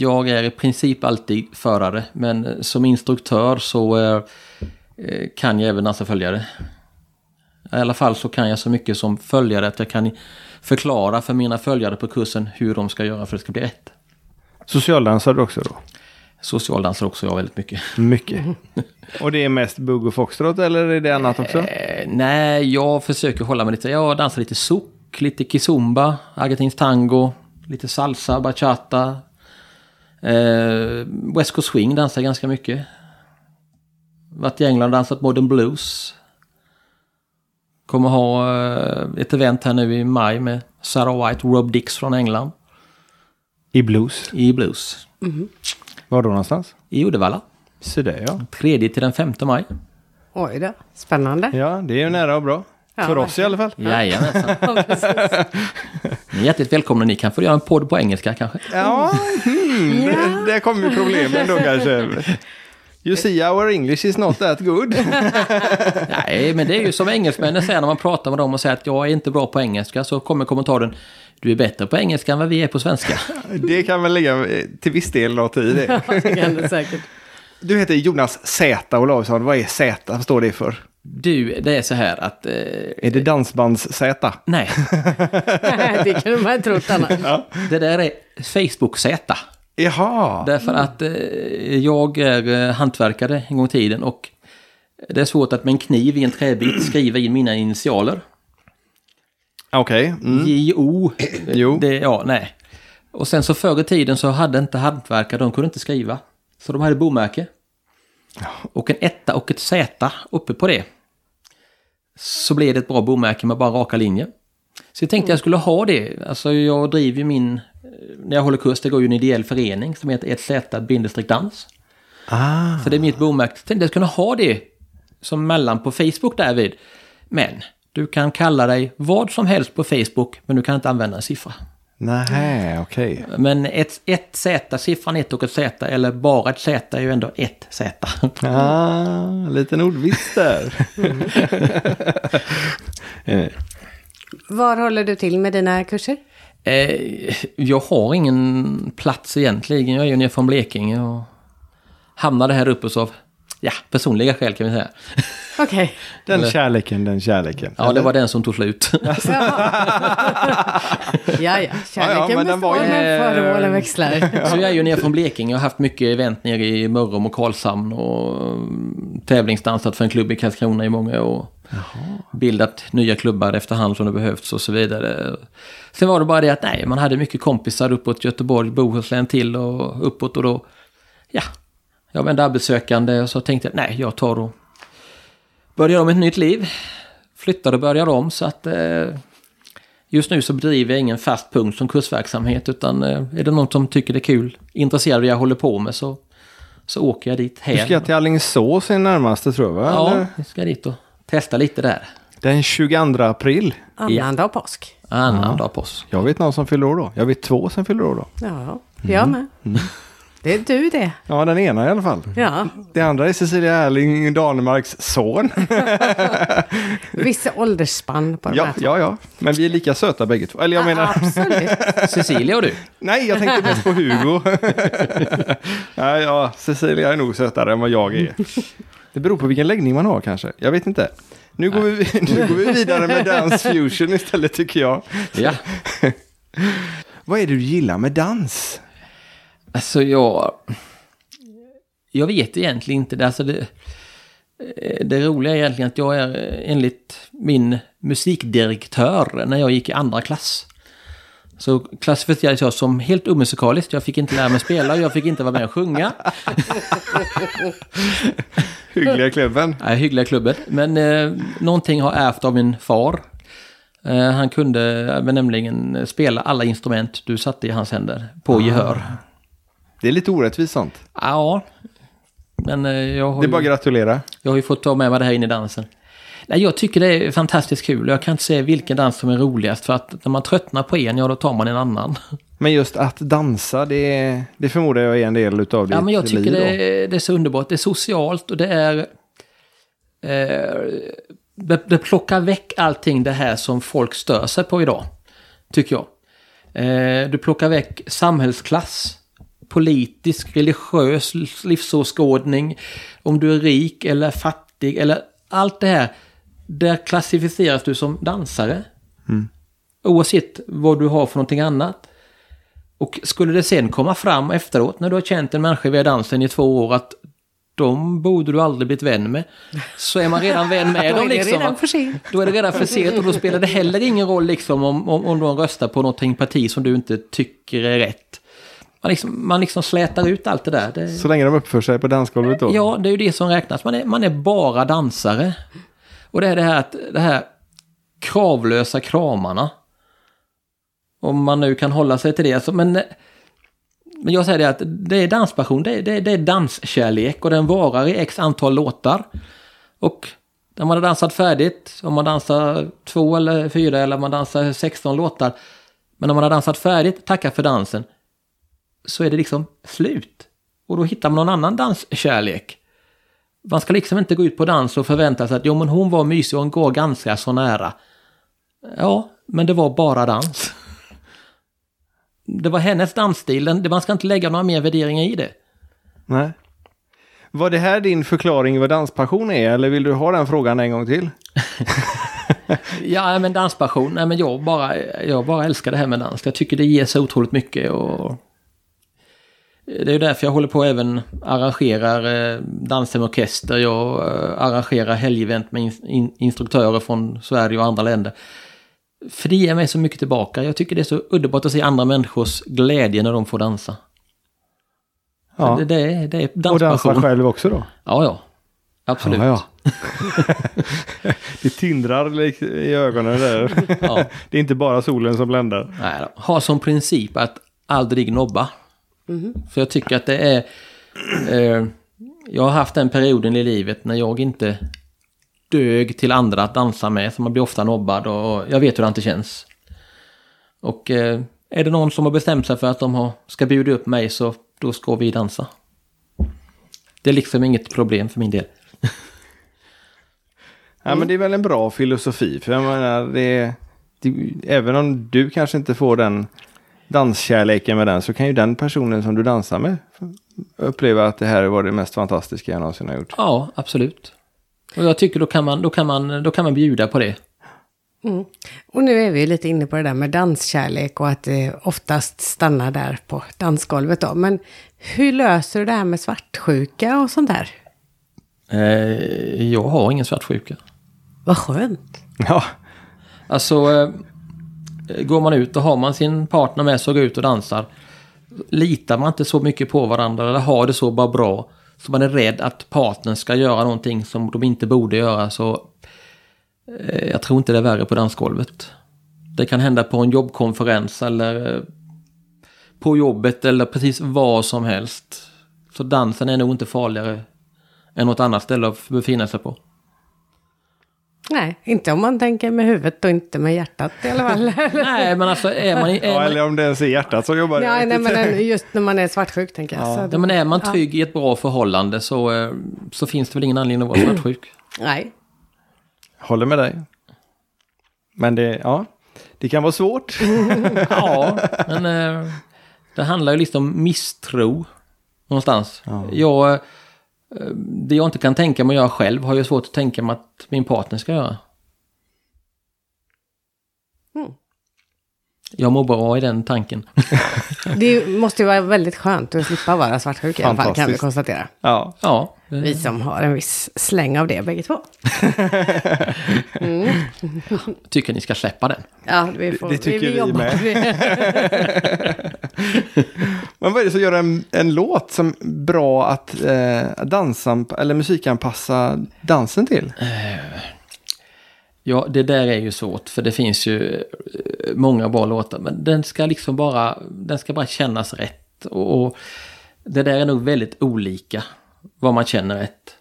Speaker 9: Jag är i princip alltid förare, men som instruktör så eh, eh, kan jag även dansa följare. I alla fall så kan jag så mycket som följare att jag kan förklara för mina följare på kursen hur de ska göra för att det ska bli rätt.
Speaker 2: Socialdansar du också då?
Speaker 9: Socialdansar också jag väldigt mycket.
Speaker 2: <laughs> Mycket. Och det är mest bugg och foxtrot eller är det annat också?
Speaker 9: Eh, nej, jag försöker hålla mig lite. Jag dansar lite souk, lite kizomba, argentinsk tango, lite salsa, bachata. Eh, West Coast Swing dansar jag ganska mycket. Varit i England och dansat modern blues. Kommer ha eh, ett event här nu i maj med Sarah White och Rob Dix från England.
Speaker 2: I blues?
Speaker 9: I blues.
Speaker 13: Mhm.
Speaker 2: Var då någonstans?
Speaker 9: I Uddevalla.
Speaker 2: Så det ja.
Speaker 9: Tredje till den femte maj.
Speaker 13: Oj då, spännande.
Speaker 2: Ja, det är ju nära och bra.
Speaker 13: Ja,
Speaker 2: För oss i alla fall.
Speaker 9: Jajamensan. <laughs> Ni är hjärtligt välkomna. Ni kan få göra en podd på engelska kanske.
Speaker 2: Ja, hmm. där kommer ju problemen då kanske. You see our English is not that good.
Speaker 9: Nej, men det är ju som engelsmännen säger när man pratar med dem och säger att jag är inte bra på engelska. Så kommer kommentaren, du är bättre på engelska än vad vi är på svenska.
Speaker 2: Det kan väl ligga eh, till viss del något i det. Du heter Jonas Z. Olausson. Vad är Z? Vad står det för?
Speaker 9: Du, det är så här att... eh,
Speaker 2: Är det <laughs> dansbands-Z?
Speaker 9: Nej.
Speaker 13: det kunde man ha trott annars.
Speaker 9: Det där är Facebook-Z.
Speaker 2: Jaha.
Speaker 9: Därför att eh, jag är eh, hantverkare en gång i tiden och det är svårt att med en kniv i en träbit skriva in mina initialer.
Speaker 2: Okej. mm.
Speaker 9: J.O. Det, ja, nej. Och sen så förr i tiden så hade inte hantverkare, de kunde inte skriva. Så de hade bomärke. Och en etta och ett Z uppe på det. Så blev det ett bra bomärke med bara raka linjer. Så jag tänkte jag skulle ha det. Alltså jag driver ju min... eh, När jag håller kurs, det går ju en ideell förening som heter 1Z dans.
Speaker 2: Ah.
Speaker 9: Så det är mitt bomärke. Jag tänkte jag skulle ha det som mellan på Facebook därvid. Men du kan kalla dig vad som helst på Facebook, men du kan inte använda en siffra.
Speaker 2: Nej, okej.
Speaker 9: Men ett, ett Z, siffran 1 och ett Z, eller bara ett Z är ju ändå ett Z. <laughs>
Speaker 2: Ah, liten ordvits <laughs> där.
Speaker 1: Var håller du till med dina kurser?
Speaker 9: Eh, jag har ingen plats egentligen. Jag är ju nere från Blekinge och hamnade här uppe så av ja, personliga skäl kan vi säga.
Speaker 1: Okej.
Speaker 2: Den
Speaker 9: Eller-
Speaker 2: kärleken, den kärleken.
Speaker 9: Ja, det var den som tog slut.
Speaker 1: Ja, ja,
Speaker 2: Ja, ja,
Speaker 1: kärleken
Speaker 2: men den
Speaker 1: består
Speaker 2: var ju-
Speaker 1: men föremålen växlar.
Speaker 9: <laughs> Så jag är ju nere från Blekinge och har haft mycket event nere i Mörrum och Karlshamn och mm, tävlingsdansat för en klubb i Karlskrona i många år. Bildat nya klubbar efterhand som det behövts och så vidare. Sen var det bara det att nej, man hade mycket kompisar uppåt Göteborg, Bohuslän till och uppåt och då, ja, jag var ändå arbetssökande och så tänkte jag nej, jag tar och börjar om ett nytt liv. Flyttar och börjar om så att eh, Just nu så bedriver jag ingen fast punkt som kursverksamhet utan eh, är det någon som tycker det är kul, intresserad av det jag håller på med så, så åker jag dit
Speaker 2: Du
Speaker 9: hem.
Speaker 2: ska till Alingsås i den närmaste tror jag, va?
Speaker 9: ja,
Speaker 2: Eller?
Speaker 9: jag ska dit och testa lite där.
Speaker 2: Den 22 april.
Speaker 1: Annandag påsk.
Speaker 9: Annan dag på oss.
Speaker 2: Jag vet någon som fyller år då. Jag vet två som fyller år då.
Speaker 1: Ja, jag med.
Speaker 2: Mm.
Speaker 1: Det är du det.
Speaker 2: Ja, den ena i alla fall.
Speaker 1: Ja.
Speaker 2: Det andra är Cecilia Erling Danemarks <laughs> son.
Speaker 1: Vissa åldersspann på de
Speaker 2: ja,
Speaker 1: här två.
Speaker 2: ja, ja. Men vi är lika söta bägge två. Eller jag menar... <laughs>
Speaker 9: Cecilia och du?
Speaker 2: Nej, jag tänkte mest på <laughs> Hugo. Nej, ja, Cecilia är nog sötare än vad jag är. Det beror på vilken läggning man har kanske. Jag vet inte. Nu går, vi, nu går vi vidare med <laughs> Dance Fusion istället tycker jag.
Speaker 9: Ja.
Speaker 2: Vad är det du gillar med dans?
Speaker 9: Alltså jag... Jag vet egentligen inte. Det, alltså det, eh, det roliga är egentligen att jag är eh, enligt min musikdirektör när jag gick i andra klass. Så klassificerades jag som helt omusikalisk. Jag fick inte lära mig spela och jag fick inte vara med och sjunga.
Speaker 2: Hyggliga klubben.
Speaker 9: Nej, hyggliga klubben. Men eh, någonting har ärvt av min far. Eh, han kunde eh, nämligen spela alla instrument du satte i hans händer på
Speaker 2: Ah.
Speaker 9: gehör.
Speaker 2: Det är lite orättvist sånt.
Speaker 9: Ja, men eh, jag har
Speaker 2: Det är
Speaker 9: ju-
Speaker 2: bara att gratulera.
Speaker 9: Jag har ju fått ta med mig det här in i dansen. Nej, jag tycker det är fantastiskt kul. Jag kan inte säga vilken dans som är roligast. För att när man tröttnar på en, ja då tar man en annan.
Speaker 2: Men just att dansa, det, det förmodar jag är en del utav ditt
Speaker 9: Ja, men jag tycker
Speaker 2: liv
Speaker 9: det,
Speaker 2: då.
Speaker 9: är- det är så underbart. Det är socialt och det är... Eh, det, det plockar väck allting det här som folk stör sig på idag. Tycker jag. Eh, du plockar väck samhällsklass. Politisk, religiös livsåskådning. Om du är rik eller fattig eller allt det här. Där klassificeras du som dansare.
Speaker 2: Mm.
Speaker 9: Oavsett vad du har för någonting annat. Och skulle det sen komma fram efteråt när du har känt en människa via dansen i två år att de borde du aldrig blivit vän med. Så är man redan vän med
Speaker 1: <laughs> Då är
Speaker 9: dem
Speaker 1: det
Speaker 9: liksom.
Speaker 1: redan för sent.
Speaker 9: Då är det redan för sent och då spelar det heller ingen roll liksom om, om, om de röstar på någonting parti som du inte tycker är rätt. Man liksom, man liksom slätar ut allt det där. Det,
Speaker 2: Så länge de uppför sig på dansgolvet då?
Speaker 9: Ja, det är ju det som räknas. Man är, man är bara dansare. Och det är det här, att, det här kravlösa kramarna. Om man nu kan hålla sig till det. Alltså, men, men jag säger det att det är danspassion, det är, det, är, det är danskärlek och den varar i x antal låtar. Och när man har dansat färdigt, om man dansar två eller fyra eller om man dansar 16 låtar. Men när man har dansat färdigt, tacka för dansen, så är det liksom slut. Och då hittar man någon annan danskärlek. Man ska liksom inte gå ut på dans och förvänta sig att jo men hon var mysig och hon går ganska så nära. Ja, men det var bara dans. Det var hennes dansstil, den- man ska inte lägga några mer värderingar i det.
Speaker 2: Nej. Var det här din förklaring vad danspassion är eller vill du ha den frågan en gång till?
Speaker 9: Ja, men danspassion, nej men jag bara, jag bara älskar det här med dans. Jag tycker det ger så otroligt mycket och... Det är ju därför jag håller på och även arrangerar eh, danser med orkester. Jag eh, arrangerar helgevent med in- in- instruktörer från Sverige och andra länder. För det ger mig så mycket tillbaka. Jag tycker det är så underbart att se andra människors glädje när de får dansa.
Speaker 2: Ja.
Speaker 9: Det, det, är- det är danspassion.
Speaker 2: Och dansa själv också då?
Speaker 9: Ja, ja. Absolut.
Speaker 2: Ja, ja. <laughs> det tindrar lik- i ögonen där.
Speaker 9: Ja.
Speaker 2: <laughs> Det är inte bara solen som bländar.
Speaker 9: Nej, då. ha som princip att aldrig nobba. För jag tycker att det är... Eh, jag har haft den perioden i livet när jag inte dög till andra att dansa med. Så man blir ofta nobbad och jag vet hur det inte känns. Och eh, är det någon som har bestämt sig för att de har, ska bjuda upp mig så då ska vi dansa. Det är liksom inget problem för min del.
Speaker 2: Ja, men det är väl en bra filosofi. För jag menar, det, det, även om du kanske inte får den danskärleken med den så kan ju den personen som du dansar med uppleva att det här var det mest fantastiska jag någonsin har gjort.
Speaker 9: Ja, absolut. Och jag tycker då kan man, då kan man, då kan man bjuda på det.
Speaker 1: Mm. Och nu är vi ju lite inne på det där med danskärlek och att det oftast stannar där på dansgolvet då. Men hur löser du det här med svartsjuka och sånt där?
Speaker 9: Eh, jag har ingen svartsjuka.
Speaker 1: Vad skönt.
Speaker 2: Ja.
Speaker 9: Alltså, eh, går man ut och har man sin partner med sig och går ut och dansar. Litar man inte så mycket på varandra eller har det så bara bra. Så man är rädd att partnern ska göra någonting som de inte borde göra. Så eh, jag tror inte det är värre på dansgolvet. Det kan hända på en jobbkonferens eller eh, på jobbet eller precis vad som helst. Så dansen är nog inte farligare än något annat ställe att befinna sig på.
Speaker 1: Nej, inte om man tänker med huvudet och inte med hjärtat i alla fall.
Speaker 9: Nej, men alltså är man... i- Är
Speaker 2: Ja,
Speaker 9: man...
Speaker 2: eller om det ens är hjärtat som jobbar.
Speaker 1: nej, nej,
Speaker 2: <laughs>
Speaker 1: men just när man är svartsjuk tänker jag.
Speaker 9: Ja.
Speaker 1: Så-
Speaker 9: Ja, men är man
Speaker 1: Ja.
Speaker 9: trygg i ett bra förhållande så, eh, så finns det väl ingen anledning att vara svartsjuk.
Speaker 1: Nej.
Speaker 2: Håller med dig. Men det, ja, det kan vara svårt.
Speaker 9: ja, men eh, det handlar ju lite om misstro någonstans. Jag, eh, det jag inte kan tänka mig att göra själv har jag svårt att tänka mig att min partner ska göra.
Speaker 1: Mm.
Speaker 9: Jag mår bra i den tanken.
Speaker 1: Det måste ju vara väldigt skönt att slippa vara svartsjuk i alla fall kan vi
Speaker 9: Fantastiskt.
Speaker 1: konstatera.
Speaker 2: Ja.
Speaker 9: ja. eh,
Speaker 1: Vi som har en viss släng av det bägge två. Mm.
Speaker 9: Tycker ni ska släppa den?
Speaker 1: Ja, vi får,
Speaker 2: Det tycker vi
Speaker 1: jobbar
Speaker 2: med.
Speaker 1: på det.
Speaker 2: Men vad är det som gör en, en låt som bra att eh, dansamp- eller musikanpassa dansen till?
Speaker 14: Mm.
Speaker 9: Ja, det där är ju svårt för det finns ju eh, många bra låtar. Men den ska liksom bara, den ska bara kännas rätt. Och, och det där är nog väldigt olika vad man känner rätt.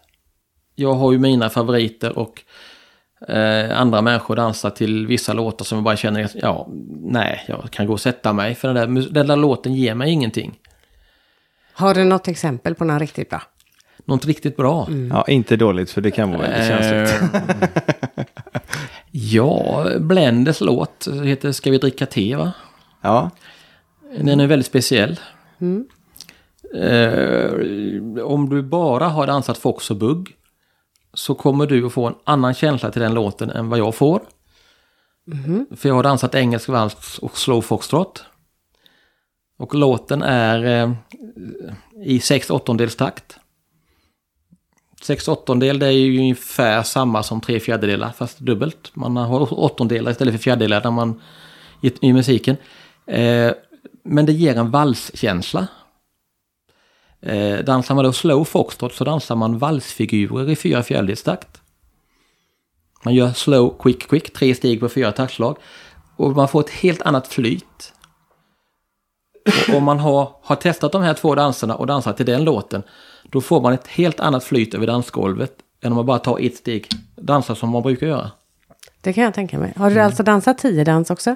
Speaker 9: Jag har ju mina favoriter och eh, andra människor dansar till vissa låtar som jag bara känner, att, ja, nej, jag kan gå och sätta mig för den där, mus- den där låten ger mig ingenting.
Speaker 1: Har du något exempel på något riktigt bra?
Speaker 9: Något riktigt bra. Eh,
Speaker 2: Ja, inte dåligt för Mm, det kan vara väldigt känsligt.
Speaker 9: <laughs> ja, Blenders låt heter Ska vi dricka te va?
Speaker 2: Ja.
Speaker 9: Den är väldigt speciell.
Speaker 1: Mm.
Speaker 9: Eh, om du bara har dansat Fox och Bugg så kommer du att få en annan känsla till den låten än vad jag får.
Speaker 1: Mhm.
Speaker 9: För jag har dansat engelsk vals och slow foxtrot. Och låten är eh, i sex åttondels takt. Sex åttondel det är ju ungefär samma som tre fjärdedelar fast dubbelt. Man har åttondelar istället för fjärdedelar när man, i, i musiken. Eh, men det ger en valskänsla. Eh, dansar man då slow foxtrot så dansar man valsfigurer i fyra fjärdedels takt. Man gör slow, quick, quick, tre steg på fyra taktslag. Och man får ett helt annat flyt. Och om man har, har testat de här två danserna och dansat till den låten, då får man ett helt annat flyt över dansgolvet än om man bara tar ett steg, dansar som man brukar göra.
Speaker 1: Det kan jag tänka mig. Har du alltså dansat tiodans också?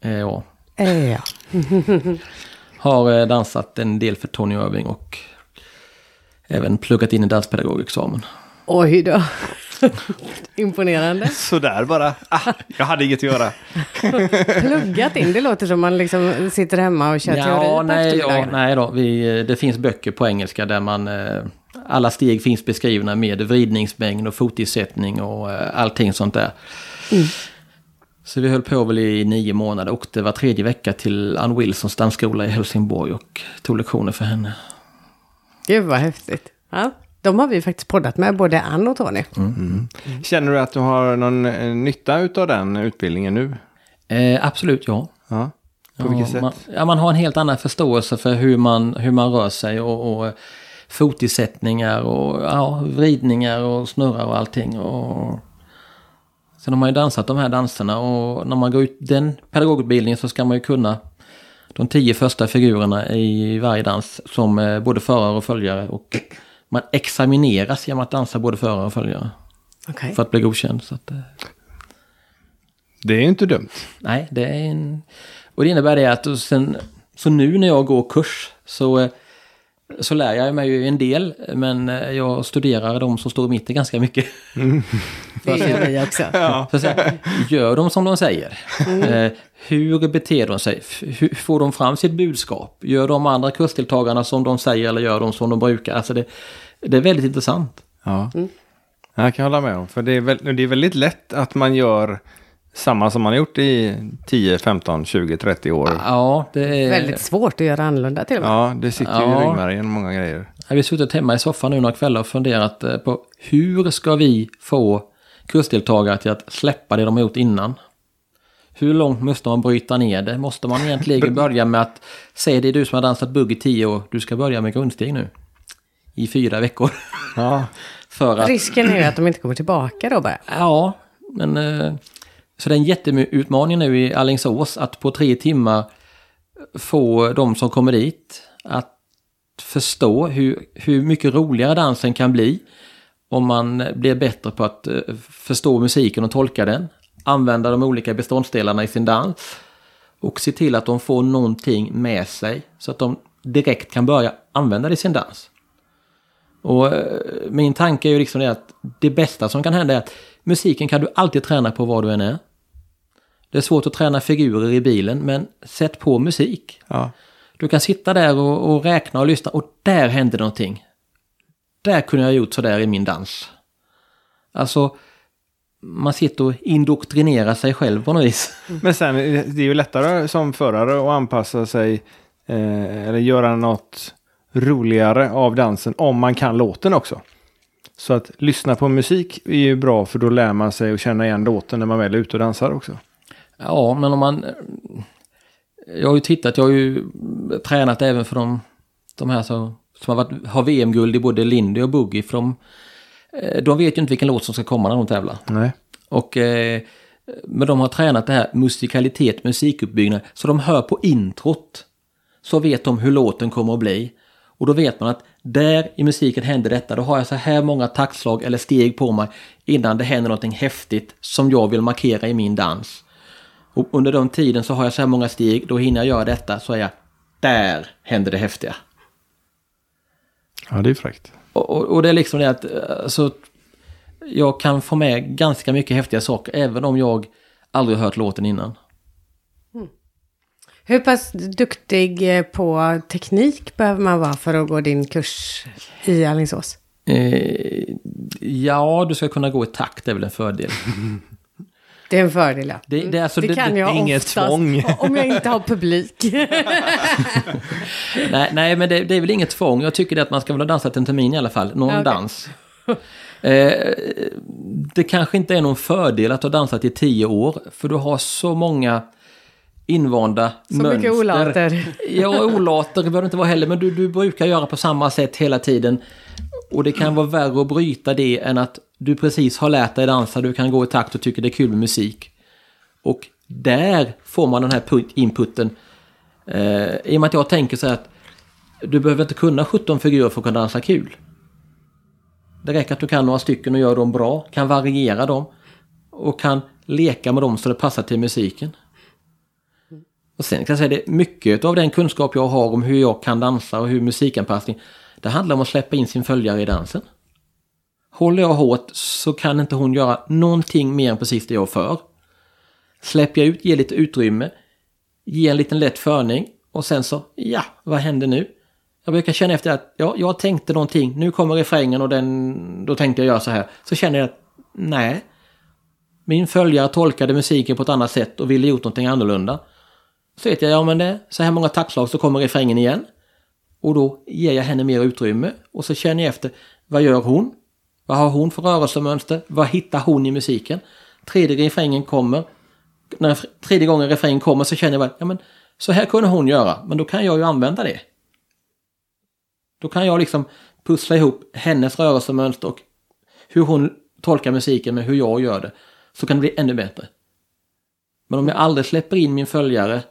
Speaker 9: Eh, ja.
Speaker 1: Eh, ja.
Speaker 9: Har eh, dansat en del för Tony Irving och även pluggat in en danspedagogexamen.
Speaker 1: Oj då. <laughs> Imponerande.
Speaker 2: Sådär bara. Ah, jag hade inget att göra.
Speaker 1: Pluggat in, det låter som man liksom sitter hemma och kör teori på
Speaker 9: nej, ja,
Speaker 1: eftermiddagarna.
Speaker 9: nej då. Vi, eh, det finns böcker på engelska där man... eh, Alla steg finns beskrivna med vridningsmängd och fotisättning och eh, allting sånt där.
Speaker 1: Mm.
Speaker 9: Så vi höll på väl i nio månader. Åkte var tredje vecka till Ann Wilsons dansskola i Helsingborg och tog lektioner för henne.
Speaker 1: Gud vad häftigt. Ja. De har vi faktiskt poddat med, både Ann och Tony.
Speaker 14: Mm. Känner du att du har någon eh, nytta av den utbildningen nu?
Speaker 9: Eh, absolut, ja.
Speaker 14: ja. På vilket sätt?
Speaker 9: Man, ja, man har en helt annan förståelse för hur man, hur man rör sig och, och fotisättningar och ja, vridningar och snurrar och allting. Och... Sen har man ju dansat de här danserna och när man går ut den pedagogutbildningen så ska man ju kunna de tio första figurerna i varje dans som eh, både förare och följare. Och man examineras genom att dansa både förare och följare.
Speaker 1: Okej.
Speaker 9: För att bli godkänd. Så att, eh,
Speaker 14: Det är ju inte dumt.
Speaker 9: Nej, det är en... Och det innebär det att och sen, så nu när jag går kurs så, eh, så lär jag mig ju en del, men eh, jag studerar de som står i mitten ganska mycket.
Speaker 1: Det gör vi också.
Speaker 9: Ja. <laughs> Så att säga, gör de som de säger?
Speaker 1: Mm.
Speaker 9: Eh, Hur beter de sig? F- Hur får de fram sitt budskap? Gör de andra kursdeltagarna som de säger eller gör de som de brukar? Alltså det, det är väldigt intressant.
Speaker 14: Ja.
Speaker 2: Mm.
Speaker 14: Jag kan hålla med om. För det är, väl, det är väldigt lätt att man gör samma som man har gjort i 10, 15, 20, 30 år.
Speaker 9: Ja, det är...
Speaker 1: Väldigt svårt att göra annorlunda till och med.
Speaker 14: Ja, det sitter ju i
Speaker 9: Ja.
Speaker 14: ryggmärgen många grejer.
Speaker 9: Ja, Vi har suttit hemma i soffan nu några kvällar och funderat eh, på hur ska vi få kursdeltagare till att släppa det de har gjort innan? Hur långt måste man bryta ner det? Måste man egentligen börja med att säga det är du som har dansat bugg i tio år, du ska börja med grundsteg nu. I fyra veckor. <laughs> För att,
Speaker 1: Risken är ju att de inte kommer tillbaka då bara.
Speaker 9: Ja, men... eh, Så det är en jätteutmaning nu i Alingsås att på tre timmar få de som kommer dit att förstå hur, hur mycket roligare dansen kan bli om man blir bättre på att eh, förstå musiken och tolka den, använda de olika beståndsdelarna i sin dans och se till att de får någonting med sig så att de direkt kan börja använda det i sin dans. Och eh, min tanke är ju liksom det att det bästa som kan hända är att musiken kan du alltid träna på var du än är. Det är svårt att träna figurer i bilen, men sätt på musik. Du kan sitta där och, och räkna och lyssna och där hände någonting. Där kunde jag ha gjort sådär i min dans. Alltså, man sitter och indoktrinerar sig själv på något vis. <laughs>
Speaker 14: Men sen, eh, det är ju lättare som förare att anpassa sig eh, eller göra något roligare av dansen om man kan låten också. Så att lyssna på musik är ju bra för då lär man sig att känna igen låten när man väl är ute och dansar också.
Speaker 9: Ja, men om man... eh, Jag har ju tittat, jag har ju tränat även för de, de här som, som har, varit, har VM-guld i både Lindy och Boogie. För de, eh, de vet ju inte vilken låt som ska komma när de tävlar.
Speaker 14: Nej.
Speaker 9: Och, eh, men de har tränat det här musikalitet, musikuppbyggnad. Så de hör på introt. Så vet de hur låten kommer att bli. Och då vet man att där i musiken händer detta. Då har jag så här många taktslag eller steg på mig innan det händer någonting häftigt som jag vill markera i min dans. Och under den tiden så har jag så här många steg, då hinner jag göra detta, så är jag där händer det häftiga.
Speaker 14: Ja, det är fräckt.
Speaker 9: Och, och, och det är liksom det att eh, så jag kan få med ganska mycket häftiga saker även om jag aldrig har hört låten innan.
Speaker 1: Hur pass duktig eh, på teknik behöver man vara för att gå din kurs i Alingsås?
Speaker 9: Eh, ja, du ska kunna gå i takt, det är väl en <laughs> fördel.
Speaker 1: Det är en fördel, ja.
Speaker 9: Det- det är alltså- det-
Speaker 1: kan
Speaker 9: det-
Speaker 1: jag
Speaker 9: det är inget
Speaker 1: oftast,
Speaker 9: tvång.
Speaker 1: <laughs> Om jag inte har publik.
Speaker 9: nej, nej, men det, det är väl inget tvång. Jag tycker det att man ska väl ha dansat en termin i alla fall, någon
Speaker 1: Ja, okej.
Speaker 9: dans. Eh, det kanske inte är någon fördel att ha dansat i tio år, för du har så många invanda
Speaker 1: Så
Speaker 9: mönster.
Speaker 1: mycket olater.
Speaker 9: <laughs> Ja, olater behöver det inte vara heller, men du, du brukar göra på samma sätt hela tiden. Och det kan vara värre att bryta det än att du precis har lärt dig dansa, du kan gå i takt och tycker det är kul med musik. Och där får man den här put- inputen. Eh, I och med att jag tänker så här att du behöver inte kunna 17 figurer för att kunna dansa kul. Det räcker att du kan några stycken och gör dem bra, kan variera dem och kan leka med dem så det passar till musiken. Och sen kan jag säga det, mycket av den kunskap jag har om hur jag kan dansa och hur musikanpassning, det handlar om att släppa in sin följare i dansen. Håller jag hårt så kan inte hon göra någonting mer än precis det jag för. Släpper jag ut, ger lite utrymme, ger en liten lätt förning och sen så, ja, vad händer nu? Jag brukar känna efter att, ja, jag tänkte någonting, nu kommer refrängen och den, då tänkte jag göra så här. Så känner jag att, nej. Min följare tolkade musiken på ett annat sätt och ville gjort någonting annorlunda. Så vet jag, ja men det är så här många taktslag så kommer refrängen igen. Och då ger jag henne mer utrymme och så känner jag efter, vad gör hon? Vad har hon för rörelsemönster? Vad hittar hon i musiken? Tredje refrängen kommer. När fr- tredje gången refrängen kommer så känner jag bara, ja men så här kunde hon göra, men då kan jag ju använda det. Då kan jag liksom pussla ihop hennes rörelsemönster och hur hon tolkar musiken med hur jag gör det. Så kan det bli ännu bättre. Men om jag aldrig släpper in min följare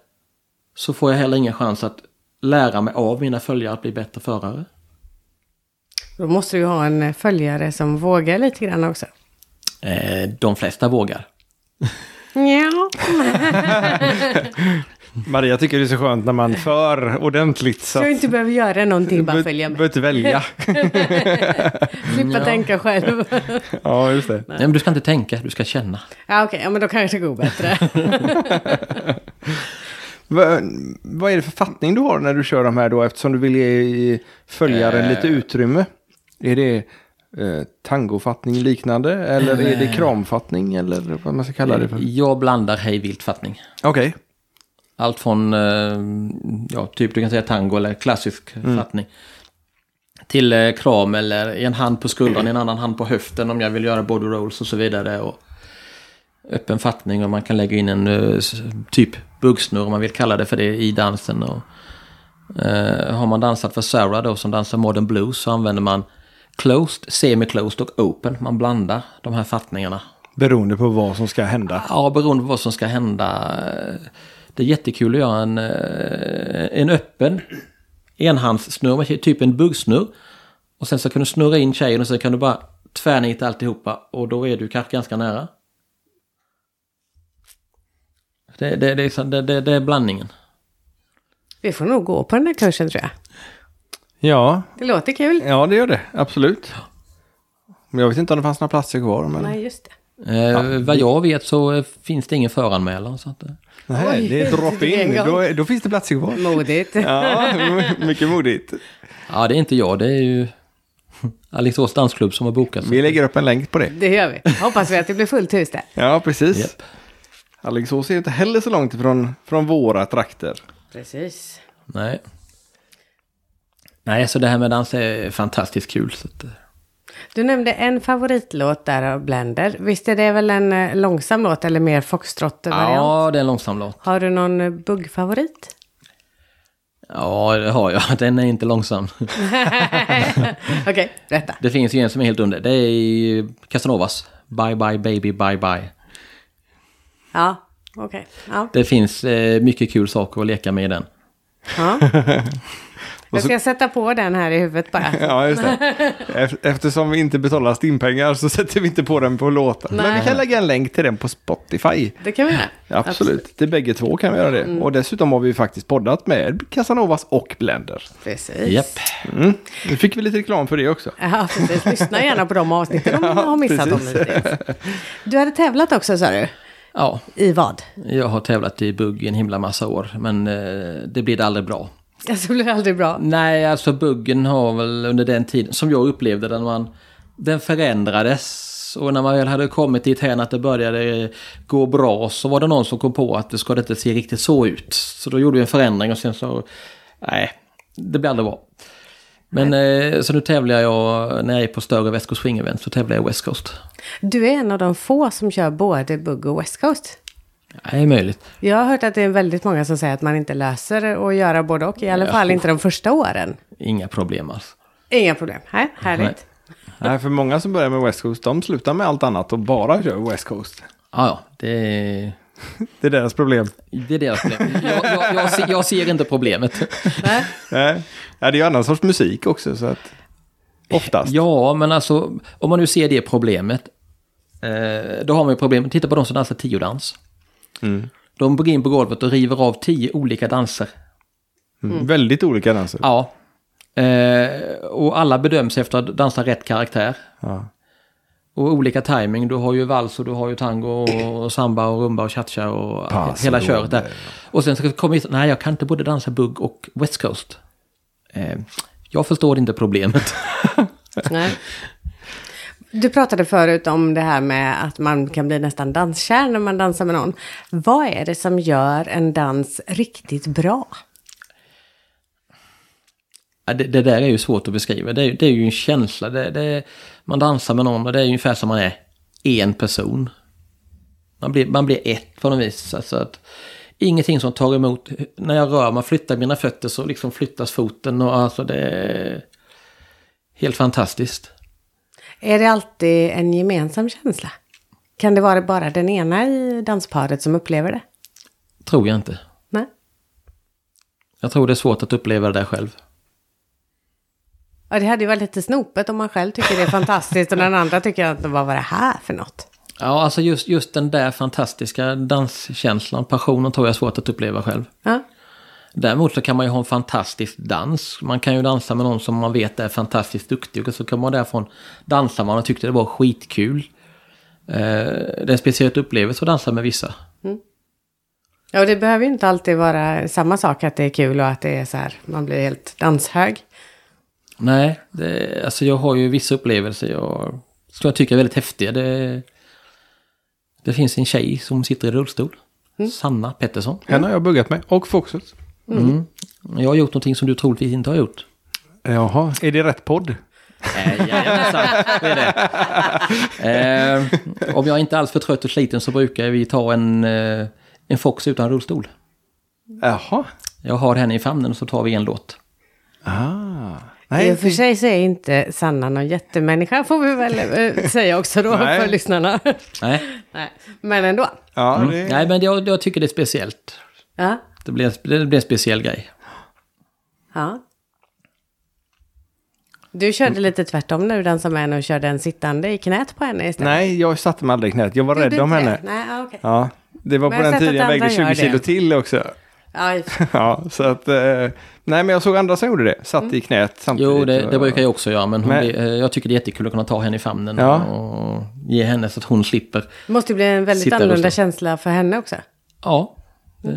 Speaker 9: så får jag heller ingen chans att lära mig av mina följare att bli bättre förare.
Speaker 1: Då måste du ju ha en eh, följare som vågar lite grann också.
Speaker 9: Eh, de flesta vågar.
Speaker 1: Ja.
Speaker 2: Maria tycker det är så skönt när man
Speaker 1: <laughs>
Speaker 2: för ordentligt. Så
Speaker 1: Så jag
Speaker 2: att-
Speaker 1: inte behöver göra någonting, bara
Speaker 2: Be-
Speaker 1: följa med.
Speaker 2: behöver inte
Speaker 1: <laughs>
Speaker 2: välja.
Speaker 1: Slippa
Speaker 9: Ja.
Speaker 1: tänka
Speaker 9: <laughs>
Speaker 1: själv.
Speaker 2: Ja, just det.
Speaker 9: Nej, men du ska inte tänka, du ska känna.
Speaker 1: Ja, okej, ja, men då kanske det går bättre.
Speaker 2: Va, vad är det för fattning du har när du kör de här då eftersom du vill ge i- följaren
Speaker 9: Eh.
Speaker 2: lite utrymme? Är det eh, tangofattning liknande eller är det
Speaker 9: Eh.
Speaker 2: kramfattning eller vad man ska kalla det för?
Speaker 9: Jag blandar hej vilt fattning.
Speaker 2: Eh, Okej.
Speaker 9: Allt från, eh, ja, typ du kan säga tango eller klassisk
Speaker 2: Mm.
Speaker 9: fattning. Till eh, kram eller en hand på skuldran, en annan hand på höften om jag vill göra body rolls och så vidare. Och öppen fattning och man kan lägga in en eh, s- typ buggsnurr om man vill kalla det för det i dansen. Och, eh, har man dansat för Sarah då som dansar modern blues så använder man closed, semi-closed och open. Man blandar de här fattningarna.
Speaker 2: Beroende på vad som ska hända.
Speaker 9: Ja, beroende på vad som ska hända. Det är jättekul att göra en, eh, en öppen enhandssnurr, med typ en buggsnurr. Och sen så kan du snurra in tjejen och sen kan du bara tvärnita alltihopa och då är du kanske ganska nära. Det, det, det, är så- det, det, det är blandningen.
Speaker 1: Vi får nog gå på den här kursen tror jag.
Speaker 2: Ja.
Speaker 1: Det låter kul.
Speaker 2: Ja, det gör det. Absolut. Men jag vet inte om det fanns några platser kvar. Men...
Speaker 1: Nej, just det.
Speaker 9: Eh, vad jag vet så eh, finns det ingen föranmälan. Så att, eh.
Speaker 2: Nej, det är drop-in.
Speaker 1: en gång.
Speaker 2: Då, är- då finns det platser kvar.
Speaker 1: Modigt.
Speaker 2: Ja, <laughs> mycket modigt.
Speaker 9: Ja, det är inte jag. Det är ju <laughs> Alingsås dansklubb som har bokat.
Speaker 2: Vi lägger upp en länk på det.
Speaker 1: Det gör vi. Hoppas vi att det blir fullt hus där.
Speaker 2: Ja, precis. Alingsås är inte heller så långt ifrån från våra trakter.
Speaker 1: Precis.
Speaker 9: Nej. Nej, så det här med dans är fantastiskt kul. Så att, eh.
Speaker 1: Du nämnde en favoritlåt där av Blender. Visst är det väl en eh, långsam låt eller mer foxtrot-variant?
Speaker 9: Ja, det är en långsam låt.
Speaker 1: Har du någon eh, buggfavorit?
Speaker 9: Ja, det har jag. <laughs> Den är inte långsam. <laughs>
Speaker 1: Okej, berätta.
Speaker 9: Det finns ju en som är helt under. Det är Casanovas. Bye bye baby bye bye.
Speaker 1: Ja, okej. Ja.
Speaker 9: Det finns eh, mycket kul saker att leka med i den.
Speaker 1: Ja. Jag ska sätta på den här i huvudet bara.
Speaker 2: Ja, just <laughs> det. Ef- Eftersom vi inte betalar stimpengar så sätter vi inte på den på låtar. Men
Speaker 1: Nej.
Speaker 2: vi kan lägga en länk till den på Spotify.
Speaker 1: Det kan vi göra.
Speaker 2: Absolut, till bägge två kan vi göra det.
Speaker 1: Mm.
Speaker 2: Och dessutom har vi faktiskt poddat med Casanovas och Blender.
Speaker 1: Precis.
Speaker 2: Mm. Nu fick vi lite reklam för det också.
Speaker 1: Ja, precis. Lyssna gärna på de avsnitten om ni har missat dem
Speaker 2: precis.
Speaker 1: hittills. Du hade tävlat också sa du?
Speaker 9: Ja.
Speaker 1: I vad?
Speaker 9: Jag har tävlat i bugg i en himla massa år, men eh, det blir det aldrig bra.
Speaker 1: Alltså, det blev aldrig bra.
Speaker 9: Nej, alltså buggen har väl under den tiden, som jag upplevde den, man, den förändrades. Och när man väl hade kommit dit här att det började gå bra så var det någon som kom på att det ska inte se riktigt så ut. Så då gjorde vi en förändring och sen så... Nej, det blir aldrig bra. Men eh, så nu tävlar jag, när jag är på större West Coast Swing Event så tävlar jag West Coast.
Speaker 1: Du är en av de få som kör både bugg och West Coast.
Speaker 9: Nej, det är möjligt.
Speaker 1: Jag har hört att det är väldigt många som säger att man inte löser att göra både och, i alla
Speaker 9: Ja.
Speaker 1: fall inte de första åren.
Speaker 9: Inga problem alls.
Speaker 1: Inga problem. Här, härligt.
Speaker 2: Nej, för många som börjar med West Coast, de slutar med allt annat och bara kör West Coast.
Speaker 9: Ja, ja, det...
Speaker 2: det är deras problem.
Speaker 9: Det är deras problem. Jag, jag, jag, ser, jag ser inte problemet.
Speaker 2: Nej, Ja, det är ju annan sorts musik också, så att... Oftast.
Speaker 9: Ja, men alltså om man nu ser det problemet. Eh, då har man ju problem. Titta på de som dansar tiodans.
Speaker 2: Mm.
Speaker 9: De går in på golvet och river av tio olika danser.
Speaker 2: Mm. Väldigt olika danser.
Speaker 9: Ja. Eh, och alla bedöms efter att dansa rätt karaktär.
Speaker 2: Ja.
Speaker 9: Och olika timing. Du har ju vals och du har ju tango och samba och rumba och cha-cha och
Speaker 2: Pass
Speaker 9: hela
Speaker 2: och
Speaker 9: köret där. Och sen så kommer vi... Nej, jag kan inte både dansa bugg och west coast. Eh, jag förstår inte problemet. <laughs>
Speaker 1: Nej. Du pratade förut om det här med att man kan bli nästan danskär när man dansar med någon. Vad är det som gör en dans riktigt bra?
Speaker 9: Ja, Det, det där är ju svårt att beskriva. Det, är- det är ju en känsla. Det, det, man dansar med någon och det är ungefär som man är en person. Man blir, man blir ett på något vis. Alltså att ingenting som tar emot. När jag rör mig, flyttar mina fötter så liksom flyttas foten. Och alltså det är helt fantastiskt.
Speaker 1: Är det alltid en gemensam känsla? Kan det vara bara den ena i dansparet som upplever det?
Speaker 9: Tror jag inte.
Speaker 1: Nej.
Speaker 9: Jag tror det är svårt att uppleva det där själv.
Speaker 1: Ja, det hade ju varit lite snopet om man själv tycker det
Speaker 2: <laughs>
Speaker 1: är fantastiskt och den andra tycker att vad var det här för något?
Speaker 9: Ja, alltså just, just den där fantastiska danskänslan, passionen tror jag är svårt att uppleva själv.
Speaker 1: Ja.
Speaker 9: Däremot så kan man ju ha en fantastisk dans. Man kan ju dansa med någon som man vet är fantastiskt duktig och så kan man därifrån dansa man och tyckte det var skitkul. Eh, det är en speciell upplevelse att dansa med vissa.
Speaker 1: Ja, och det behöver ju inte alltid vara samma sak att det är kul och att det är så här, man blir helt danshög.
Speaker 9: Nej, det, alltså jag har ju vissa upplevelser jag, som jag tycker är väldigt häftiga. Det, det finns en tjej som sitter i rullstol. Sanna Pettersson.
Speaker 2: Henne har jag buggat med och Foxet.
Speaker 9: Mm. Jag har gjort någonting som du troligtvis inte har gjort.
Speaker 2: Jaha, är det rätt podd?
Speaker 9: Eh, Jajamensan, det är det. Eh, om jag inte alls för trött och sliten så brukar vi ta en, eh, en Fox utan rullstol.
Speaker 2: Jaha.
Speaker 9: Jag har henne i famnen och så tar vi en låt.
Speaker 2: Ah.
Speaker 1: I och för sig så är inte Sanna någon jättemänniska får vi väl eh, säga också då
Speaker 9: Nej.
Speaker 1: för lyssnarna. <laughs>
Speaker 9: Nej,
Speaker 1: Nej. Men ändå.
Speaker 2: Ja,
Speaker 9: mm.
Speaker 2: det-
Speaker 9: Nej men jag, jag tycker det är speciellt.
Speaker 1: Ja.
Speaker 9: Det blir, det blir en speciell grej.
Speaker 1: ja. Du körde lite tvärtom när du dansade med henne och körde en sittande i knät på henne istället.
Speaker 2: Nej, jag satte mig aldrig i knät. Jag var
Speaker 1: Gjorde
Speaker 2: rädd om
Speaker 1: inte det?
Speaker 2: henne.
Speaker 1: Nej, ah, okej.
Speaker 2: Ja, det var
Speaker 1: Men
Speaker 2: på
Speaker 1: jag
Speaker 2: den
Speaker 1: har sett
Speaker 2: tiden jag
Speaker 1: att
Speaker 2: vägde
Speaker 1: andra
Speaker 2: 20
Speaker 1: gör det.
Speaker 2: kilo till också. <laughs>
Speaker 1: Ja, i och för sig.
Speaker 2: ja, så att... Eh, nej, men jag såg andra som gjorde det. Satt
Speaker 1: Mm.
Speaker 2: i knät samtidigt.
Speaker 9: Jo, det,
Speaker 2: och-
Speaker 9: det brukar jag också göra, men hon
Speaker 2: Men-
Speaker 9: blir, eh, jag tycker det är jättekul att kunna ta henne i famnen
Speaker 2: Ja.
Speaker 9: och ge henne så att hon slipper.
Speaker 1: Det måste ju bli en väldigt
Speaker 9: Sitta och
Speaker 1: annorlunda
Speaker 9: stå.
Speaker 1: känsla för henne också.
Speaker 9: Ja. Eh,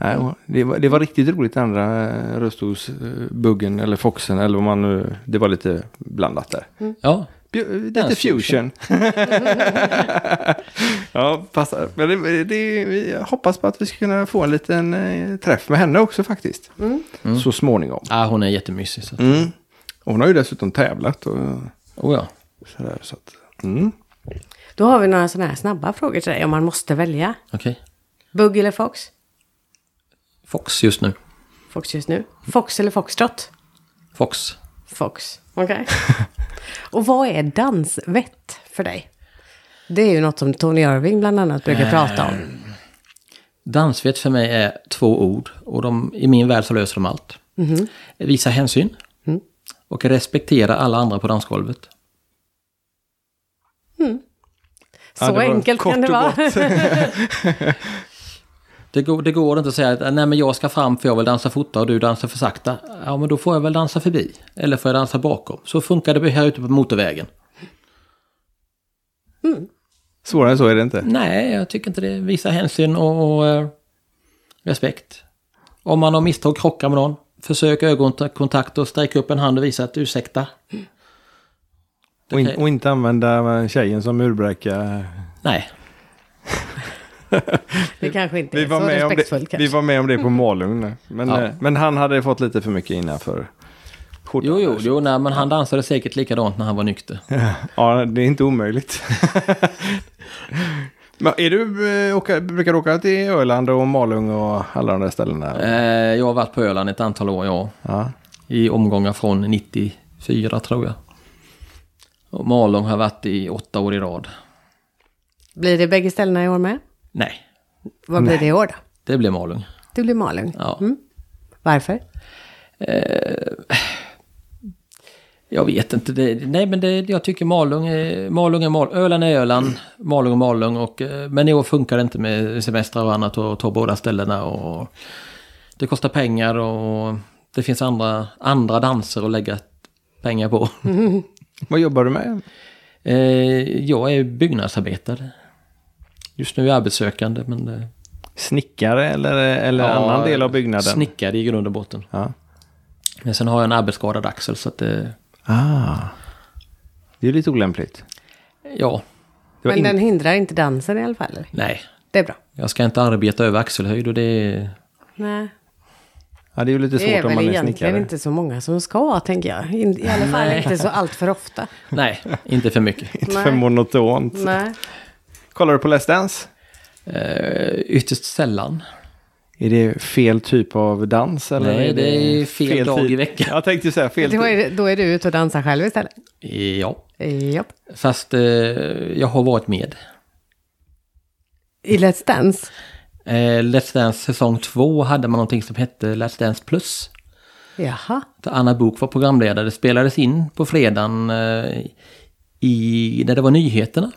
Speaker 2: Nej, och det, var, det var riktigt roligt den andra eh, rullstolsbuggen eller foxen eller vad man nu... Det var lite blandat där.
Speaker 1: Mm.
Speaker 9: Ja.
Speaker 2: Bju- Lite fusion. <laughs> ja, passar. Men det, det, vi hoppas på att vi ska kunna få en liten eh, träff med henne också faktiskt.
Speaker 1: Mm.
Speaker 2: Så småningom.
Speaker 9: Ja, Ah, hon är jättemysig. Så.
Speaker 2: Mm. Och Hon har ju dessutom tävlat. Och,
Speaker 9: oh ja.
Speaker 2: Sådär, så att, mm.
Speaker 1: Då har vi några sådana här snabba frågor till dig om man måste välja.
Speaker 9: Okej.
Speaker 1: Bugg eller Fox?
Speaker 9: Fox just nu.
Speaker 1: Fox just nu. Fox eller Foxtrot?
Speaker 9: Fox.
Speaker 1: Fox. Okej.
Speaker 2: <laughs>
Speaker 1: Och vad är dansvett för dig? Det är ju något som Tony Irving bland annat brukar prata om.
Speaker 9: Eh, Dansvett för mig är två ord och de, i min värld så löser de allt.
Speaker 1: Mhm.
Speaker 9: Visa hänsyn
Speaker 1: Mm.
Speaker 9: och respektera alla andra på dansgolvet.
Speaker 1: Så enkelt kan det vara.
Speaker 9: det, går, det går inte att säga att nej men jag ska fram för jag vill dansa fortare och du dansar för sakta. Ja men då får jag väl dansa förbi. Eller får jag dansa bakom. Så funkar det här ute på motorvägen.
Speaker 2: Svårare än så är det inte.
Speaker 9: Nej, jag tycker inte det. Visa hänsyn och, och eh, respekt. Om man har misstag krockar med någon, försök ögonkontakt och sträck upp en hand och visa att ursäkta.
Speaker 2: Och, in, och inte använda eh, tjejen som murbräcka.
Speaker 9: Nej.
Speaker 1: <laughs> Det kanske inte
Speaker 2: Vi
Speaker 1: är
Speaker 2: var,
Speaker 1: så
Speaker 2: med om
Speaker 1: respektfullt
Speaker 2: det,
Speaker 1: kanske.
Speaker 2: vi var med om det
Speaker 9: Mm.
Speaker 2: på Malung. Men,
Speaker 9: Ja.
Speaker 2: eh, men han hade fått lite för mycket innanför.
Speaker 9: Jo, jo, jo nej, men han dansade säkert likadant när han var nykter.
Speaker 2: Ja, det är inte omöjligt. <laughs> Men är du, eh, åka, brukar du åka till Öland och Malung och alla de där ställena?
Speaker 9: Eh, jag har varit på Öland ett antal år, ja. I omgångar från 94 tror jag. Och Malung har jag varit i åtta år i rad.
Speaker 1: Blir det bägge ställena i år med?
Speaker 9: Nej,
Speaker 1: Vad blir
Speaker 9: Nej.
Speaker 1: det i år då?
Speaker 9: det blev Malung.
Speaker 1: Det blir Malung.
Speaker 9: Ja.
Speaker 1: Mm. Varför?
Speaker 9: Eh, jag vet inte. Det, nej, men det, jag tycker Malung är Malung. Är Mal, Öland är Öland. Malung är Malung. Och, eh, men i år funkar det inte med semestrar och annat och ta båda ställena. Och, det kostar pengar och det finns andra, andra danser att lägga pengar på.
Speaker 2: Vad jobbar du med?
Speaker 9: Eh, jag är byggnadsarbetare. Just nu är jag arbetssökande. Men det,
Speaker 2: Snickare eller, eh, eller
Speaker 9: Ja,
Speaker 2: annan del av byggnaden?
Speaker 9: Snickare i grund och botten. Men sen har jag en arbetsskadad axel så att det...
Speaker 2: Ah. Det är lite olämpligt.
Speaker 9: Ja.
Speaker 1: Men den hindrar inte dansen i alla fall? eller?
Speaker 9: Nej.
Speaker 1: Det är bra.
Speaker 9: Jag ska inte arbeta över axelhöjd och det...
Speaker 1: Nej.
Speaker 2: Ja, det är ju lite svårt
Speaker 1: det är
Speaker 2: om
Speaker 1: väl
Speaker 2: man är
Speaker 1: egentligen
Speaker 2: snickare.
Speaker 1: inte så många som ska, tänker jag. In- I alla fall
Speaker 2: Nej.
Speaker 1: inte så allt för
Speaker 2: <laughs>
Speaker 1: ofta.
Speaker 9: Nej, inte för mycket.
Speaker 1: Inte för Nej.
Speaker 2: monotont.
Speaker 1: Nej.
Speaker 2: Kollar du på Let's Dance?
Speaker 9: Eh, ytterst sällan.
Speaker 2: Är det fel typ av dans? Eller
Speaker 9: Nej, det är fel dag i
Speaker 2: veckan. Jag tänkte ju säga fel
Speaker 1: Då
Speaker 2: tid.
Speaker 1: är, då är du ute och dansar själv istället.
Speaker 9: Ja.
Speaker 1: Japp.
Speaker 9: Fast eh, jag har varit med.
Speaker 1: I Let's Dance.
Speaker 9: Eh, Let's Dance säsong 2 hade man någonting som hette Let's Dance Plus.
Speaker 1: Jaha.
Speaker 9: Där Anna Bok var programledare. Det spelades in på fredagen eh, i, när det var nyheterna.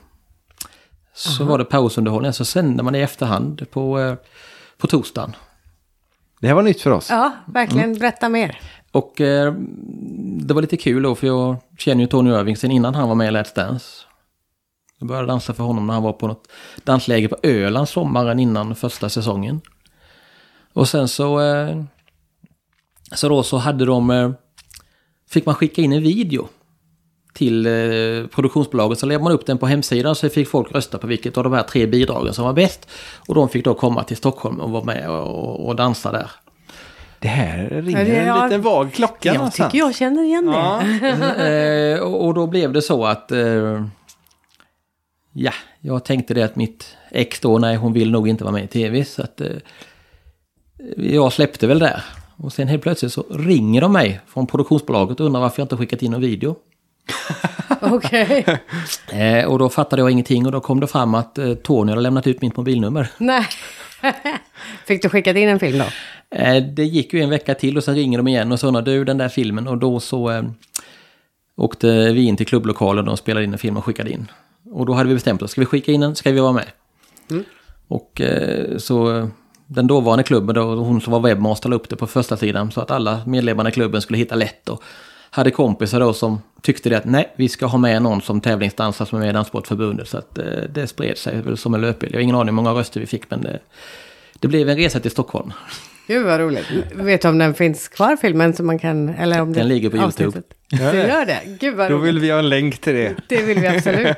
Speaker 9: Så var det pausunderhållning. Så sände man det i efterhand på, eh, på torsdagen.
Speaker 2: Det här var nytt för oss.
Speaker 1: Ja, verkligen.
Speaker 9: Mm.
Speaker 1: Berätta mer.
Speaker 9: Och eh, det var lite kul då för jag känner ju Tony Irving sen innan han var med i Let's Dance. Jag började dansa för honom när han var på något dansläger på Öland sommaren innan första säsongen. Och sen så... Eh, så då så hade de... Eh, fick man skicka in en video till eh, produktionsbolaget. Så lade man upp den på hemsidan så fick folk rösta på vilket av de här tre bidragen som var bäst. Och de fick då komma till Stockholm och vara med och, och dansa där.
Speaker 2: Det här
Speaker 1: Ja, det- en ja. liten
Speaker 2: vag klocka
Speaker 1: Jag tycker jag känner igen det.
Speaker 9: Eh, och, och då blev det så att... Eh, ja, jag tänkte det att mitt ex då, nej hon vill nog inte vara med i tv. Så att... Eh, jag släppte väl där. Och sen helt plötsligt så ringer de mig från produktionsbolaget och undrar varför jag inte skickat in någon video.
Speaker 1: <laughs> Okej.
Speaker 9: Eh, och då fattade jag ingenting och då kom det fram att eh, Tony hade lämnat ut mitt mobilnummer.
Speaker 1: Nej. <laughs> Fick du skickat in en film då?
Speaker 9: Eh, det gick ju en vecka till och sen ringer de igen och så undrar du den där filmen och då så eh, åkte vi in till klubblokalen och de spelade in en film och skickade in. Och då hade vi bestämt oss, ska vi skicka in den, ska vi vara med?
Speaker 1: Mm.
Speaker 9: Och eh, så eh, den dåvarande klubben, då, hon som var webbmaster, la upp det på första sidan så att alla medlemmarna i klubben skulle hitta lätt. Och hade kompisar då som tyckte det att nej, vi ska ha med någon som tävlingsdansar som är med i Danssportförbundet. Så att eh, det spred sig väl som en löpeld. Jag har ingen aning hur många röster vi fick men det, det blev en resa till Stockholm.
Speaker 1: Gud vad roligt. Vet du om den finns kvar filmen så man kan... Eller om
Speaker 9: Den
Speaker 1: det,
Speaker 9: ligger på YouTube.
Speaker 1: avsnittet? Du gör det? Gud vad
Speaker 2: Då
Speaker 1: roligt.
Speaker 2: vill vi ha en länk till det.
Speaker 1: Det vill vi absolut.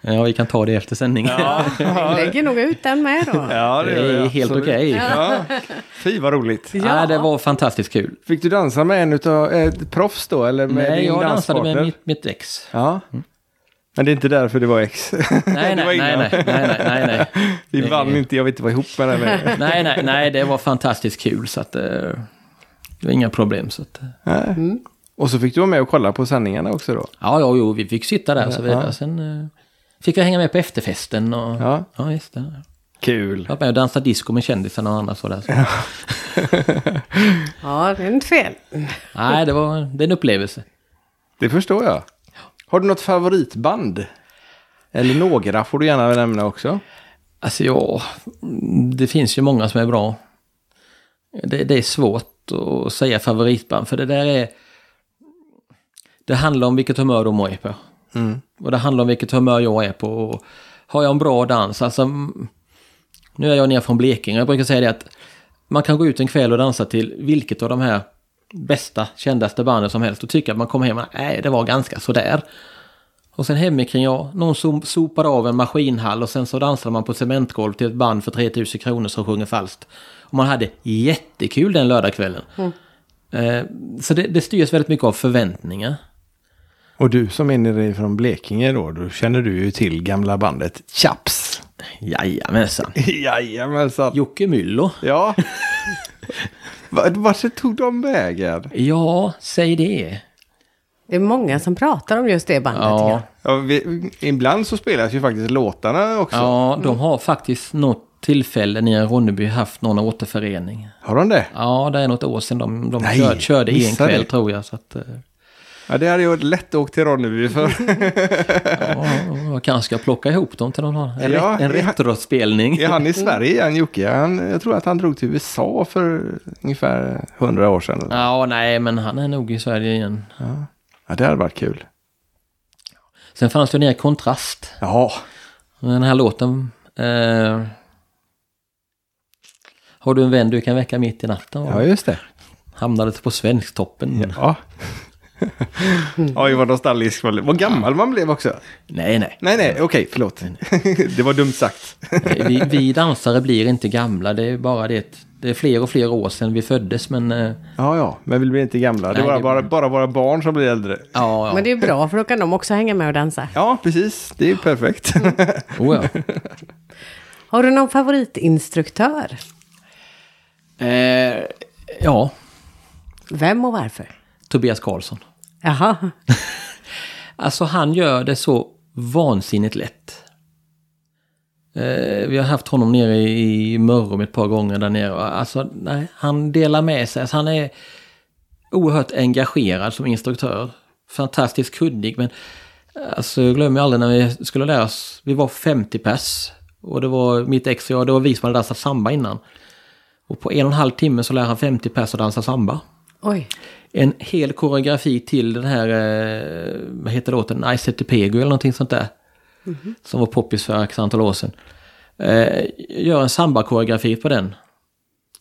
Speaker 9: ja, vi kan ta det efter sändning.
Speaker 1: Vi lägger nog ut den med då.
Speaker 2: Ja,
Speaker 9: Det är
Speaker 2: gör vi,
Speaker 9: helt
Speaker 2: absolut.
Speaker 9: okej.
Speaker 2: Ja. Fy vad roligt.
Speaker 9: <laughs> Ja, det var fantastiskt kul.
Speaker 2: Fick du dansa med en utav eh, ett proffs då? Eller med
Speaker 9: Nej,
Speaker 2: din
Speaker 9: jag dansade med
Speaker 2: danspartner?
Speaker 9: mitt, mitt ex.
Speaker 2: Ja. Men det är inte därför det var ex.
Speaker 9: Nej,
Speaker 2: <laughs> Det var
Speaker 9: nej, nej,
Speaker 2: innan.
Speaker 9: nej, nej, nej, nej.
Speaker 2: Vi
Speaker 9: Det-
Speaker 2: vann inte, jag vill inte vara ihop med
Speaker 1: <laughs>
Speaker 2: den längre.
Speaker 9: nej, nej, nej, det var fantastiskt kul så att eh, det var inga problem. Så att, eh,
Speaker 2: Nej. Och så fick du vara med och kolla på sändningarna också då?
Speaker 9: ja, ja, jo, vi fick sitta där och så vidare.
Speaker 2: Ja.
Speaker 9: Sen eh, fick jag hänga med på efterfesten och ja, just det.
Speaker 2: Kul.
Speaker 9: Jag var med och dansade disco med kändisarna och annat sådär. Så.
Speaker 1: Ja, det är inte fel.
Speaker 9: nej, det var det är en upplevelse.
Speaker 2: Det förstår jag. Har du något favoritband? Eller några får du gärna nämna också.
Speaker 9: Alltså ja, det finns ju många som är bra. Det, det är svårt att säga favoritband för det där är... Det handlar om vilket humör de är på.
Speaker 2: Mm.
Speaker 9: Och det handlar om vilket humör jag är på. Och har jag en bra dans, alltså... mm, Nu är jag ner från Blekinge, jag brukar säga det att man kan gå ut en kväll och dansa till vilket av de här bästa, kändaste banden som helst och tycka att man kommer hem och nej, det var ganska sådär. Och sen hemikring, ja, någon som sopade av en maskinhall och sen så dansade man på cementgolv till ett band för 3000 kronor som sjunger falskt. Och man hade jättekul den lördagskvällen.
Speaker 1: Mm.
Speaker 9: Eh, så det, det styrs väldigt mycket av förväntningar.
Speaker 2: Och du som är nere från Blekinge då, då känner du ju till gamla bandet Chaps.
Speaker 9: Jajamensan.
Speaker 2: <laughs> Jajamensan.
Speaker 9: Jocke Myllo.
Speaker 2: Ja. <laughs> Va- Vart tog de vägen?
Speaker 9: Ja, säg det.
Speaker 1: Det är många som pratar om just det bandet. Ja.
Speaker 2: Ja, vi, ibland så spelas ju faktiskt låtarna också.
Speaker 9: Ja, de har faktiskt något tillfälle nere i Ronneby haft någon återförening.
Speaker 2: Har de det?
Speaker 9: Ja, det är något år sedan de, de
Speaker 2: Nej,
Speaker 9: kör, körde en
Speaker 2: missade
Speaker 9: kväll
Speaker 2: det.
Speaker 9: tror jag. Så att, eh,
Speaker 2: Ja, det hade jag lätt åkt till Ronneby för.
Speaker 9: jag kanske ska plocka ihop dem till någon annan. En,
Speaker 2: Ja,
Speaker 9: ret- en
Speaker 2: är han-
Speaker 9: retrospelning.
Speaker 2: Är han i Sverige igen, Jocke? Han, jag tror att han drog till USA för ungefär 100 år sedan.
Speaker 9: Ja, nej, men han är nog i Sverige igen.
Speaker 2: Ja, det hade varit kul.
Speaker 9: Sen fanns det ju ner kontrast.
Speaker 2: Ja.
Speaker 9: Den här låten. Eh, har du en vän du kan väcka mitt i natten?
Speaker 2: Ja, just det.
Speaker 9: Hamnade på Svensktoppen.
Speaker 2: Ja. <laughs> Oj, vad nostalgisk man blev. Vad gammal man blev också.
Speaker 9: Nej, nej.
Speaker 2: Nej, nej, okej, förlåt. <laughs> det var dumt sagt.
Speaker 9: vi, vi dansare blir inte gamla, det är bara det Det är fler och fler år sedan vi föddes men... eh,
Speaker 14: Ja, ja, men vi blir inte gamla.
Speaker 2: Det är bara- bara-
Speaker 9: våra barn som blir äldre. Ja, ja.
Speaker 1: Men det är bra för då kan de också hänga med och dansa.
Speaker 14: Ja, precis. Det är perfekt.
Speaker 1: Mm,
Speaker 2: <laughs>
Speaker 9: Oh, ja.
Speaker 1: Har du någon favoritinstruktör?
Speaker 9: Eh, ja,
Speaker 1: Vem och varför?
Speaker 9: Tobias Karlsson.
Speaker 1: Jaha,
Speaker 9: Alltså han gör det så vansinnigt lätt. Eh, vi har haft honom nere i Mörrum ett par gånger där nere. Alltså, nej, han delar med sig. Alltså, han är oerhört engagerad som instruktör. Fantastiskt kuddig, men alltså, jag glömmer aldrig när vi skulle lära oss. Vi var 50 pers och det var mitt ex och jag, det var vi som hade dansat samba innan. Och på en och en halv timme så lär han 50 pers att dansa samba
Speaker 1: oj.
Speaker 9: en hel koreografi till den här, eh, vad heter låten, I Set the Pego eller någonting sånt där.
Speaker 1: Mhm.
Speaker 9: Som var poppis för ett antal år sedan. Eh, gör en samba-koreografi på den.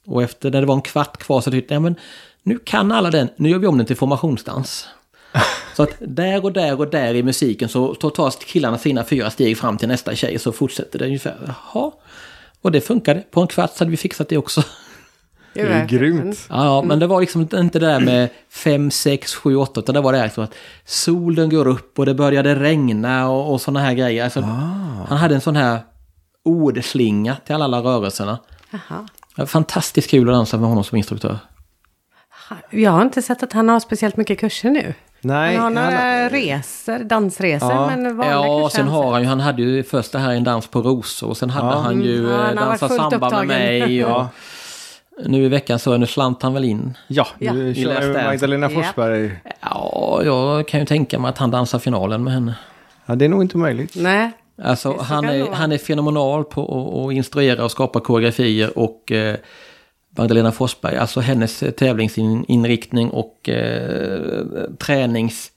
Speaker 9: Och efter när det var en kvart kvar så tyckte jag, men nu kan alla den, nu gör vi om den till formationsdans. Så att där och där och där i musiken så så tar killarna sina fyra steg fram till nästa tjej så fortsätter det ungefär. Jaha. Och det funkade. På en kvart så hade vi fixat det också.
Speaker 1: Det är Det är verkligen. grymt.
Speaker 9: Ja, men det var liksom inte det där med 5, 6, 7, 8, utan det var det här liksom att solen går upp och det började regna och, och sådana här grejer. Alltså,
Speaker 1: Ah.
Speaker 9: Han hade en sån här ordslinga till alla, alla rörelserna.
Speaker 1: Jaha.
Speaker 9: Ja, Fantastiskt kul att dansa med honom som instruktör.
Speaker 1: Jag har inte sett att han har speciellt mycket kurser nu.
Speaker 9: Nej,
Speaker 1: han har några resor, dansresor, men vanliga
Speaker 9: ja
Speaker 1: kurser.
Speaker 9: sen har han ju, han hade ju först det här en dans på rosor och sen hade
Speaker 1: Ja.
Speaker 9: han
Speaker 1: Mm,
Speaker 9: ju
Speaker 1: ja,
Speaker 9: eh,
Speaker 1: han har varit
Speaker 9: dansa
Speaker 1: fullt
Speaker 9: samba
Speaker 1: upptagen.
Speaker 9: med mig.
Speaker 1: <laughs>
Speaker 9: Och,
Speaker 1: Ja.
Speaker 9: Nu i veckan så nu slant han väl in.
Speaker 2: Ja,
Speaker 1: Ja.
Speaker 2: nu kör
Speaker 9: Last
Speaker 2: vi
Speaker 9: Dance.
Speaker 2: Magdalena
Speaker 9: Ja.
Speaker 2: Forsberg.
Speaker 9: Ja, jag kan ju tänka mig att han dansar finalen med henne. Ja, det är nog inte möjligt.
Speaker 1: Nej.
Speaker 9: Alltså,
Speaker 1: så
Speaker 9: han
Speaker 1: kan det
Speaker 9: är,
Speaker 1: vara.
Speaker 9: han är fenomenal på att- att instruera och skapa koreografier och eh, Magdalena Forsberg, alltså hennes eh, tävlingsinriktning och eh, tränings...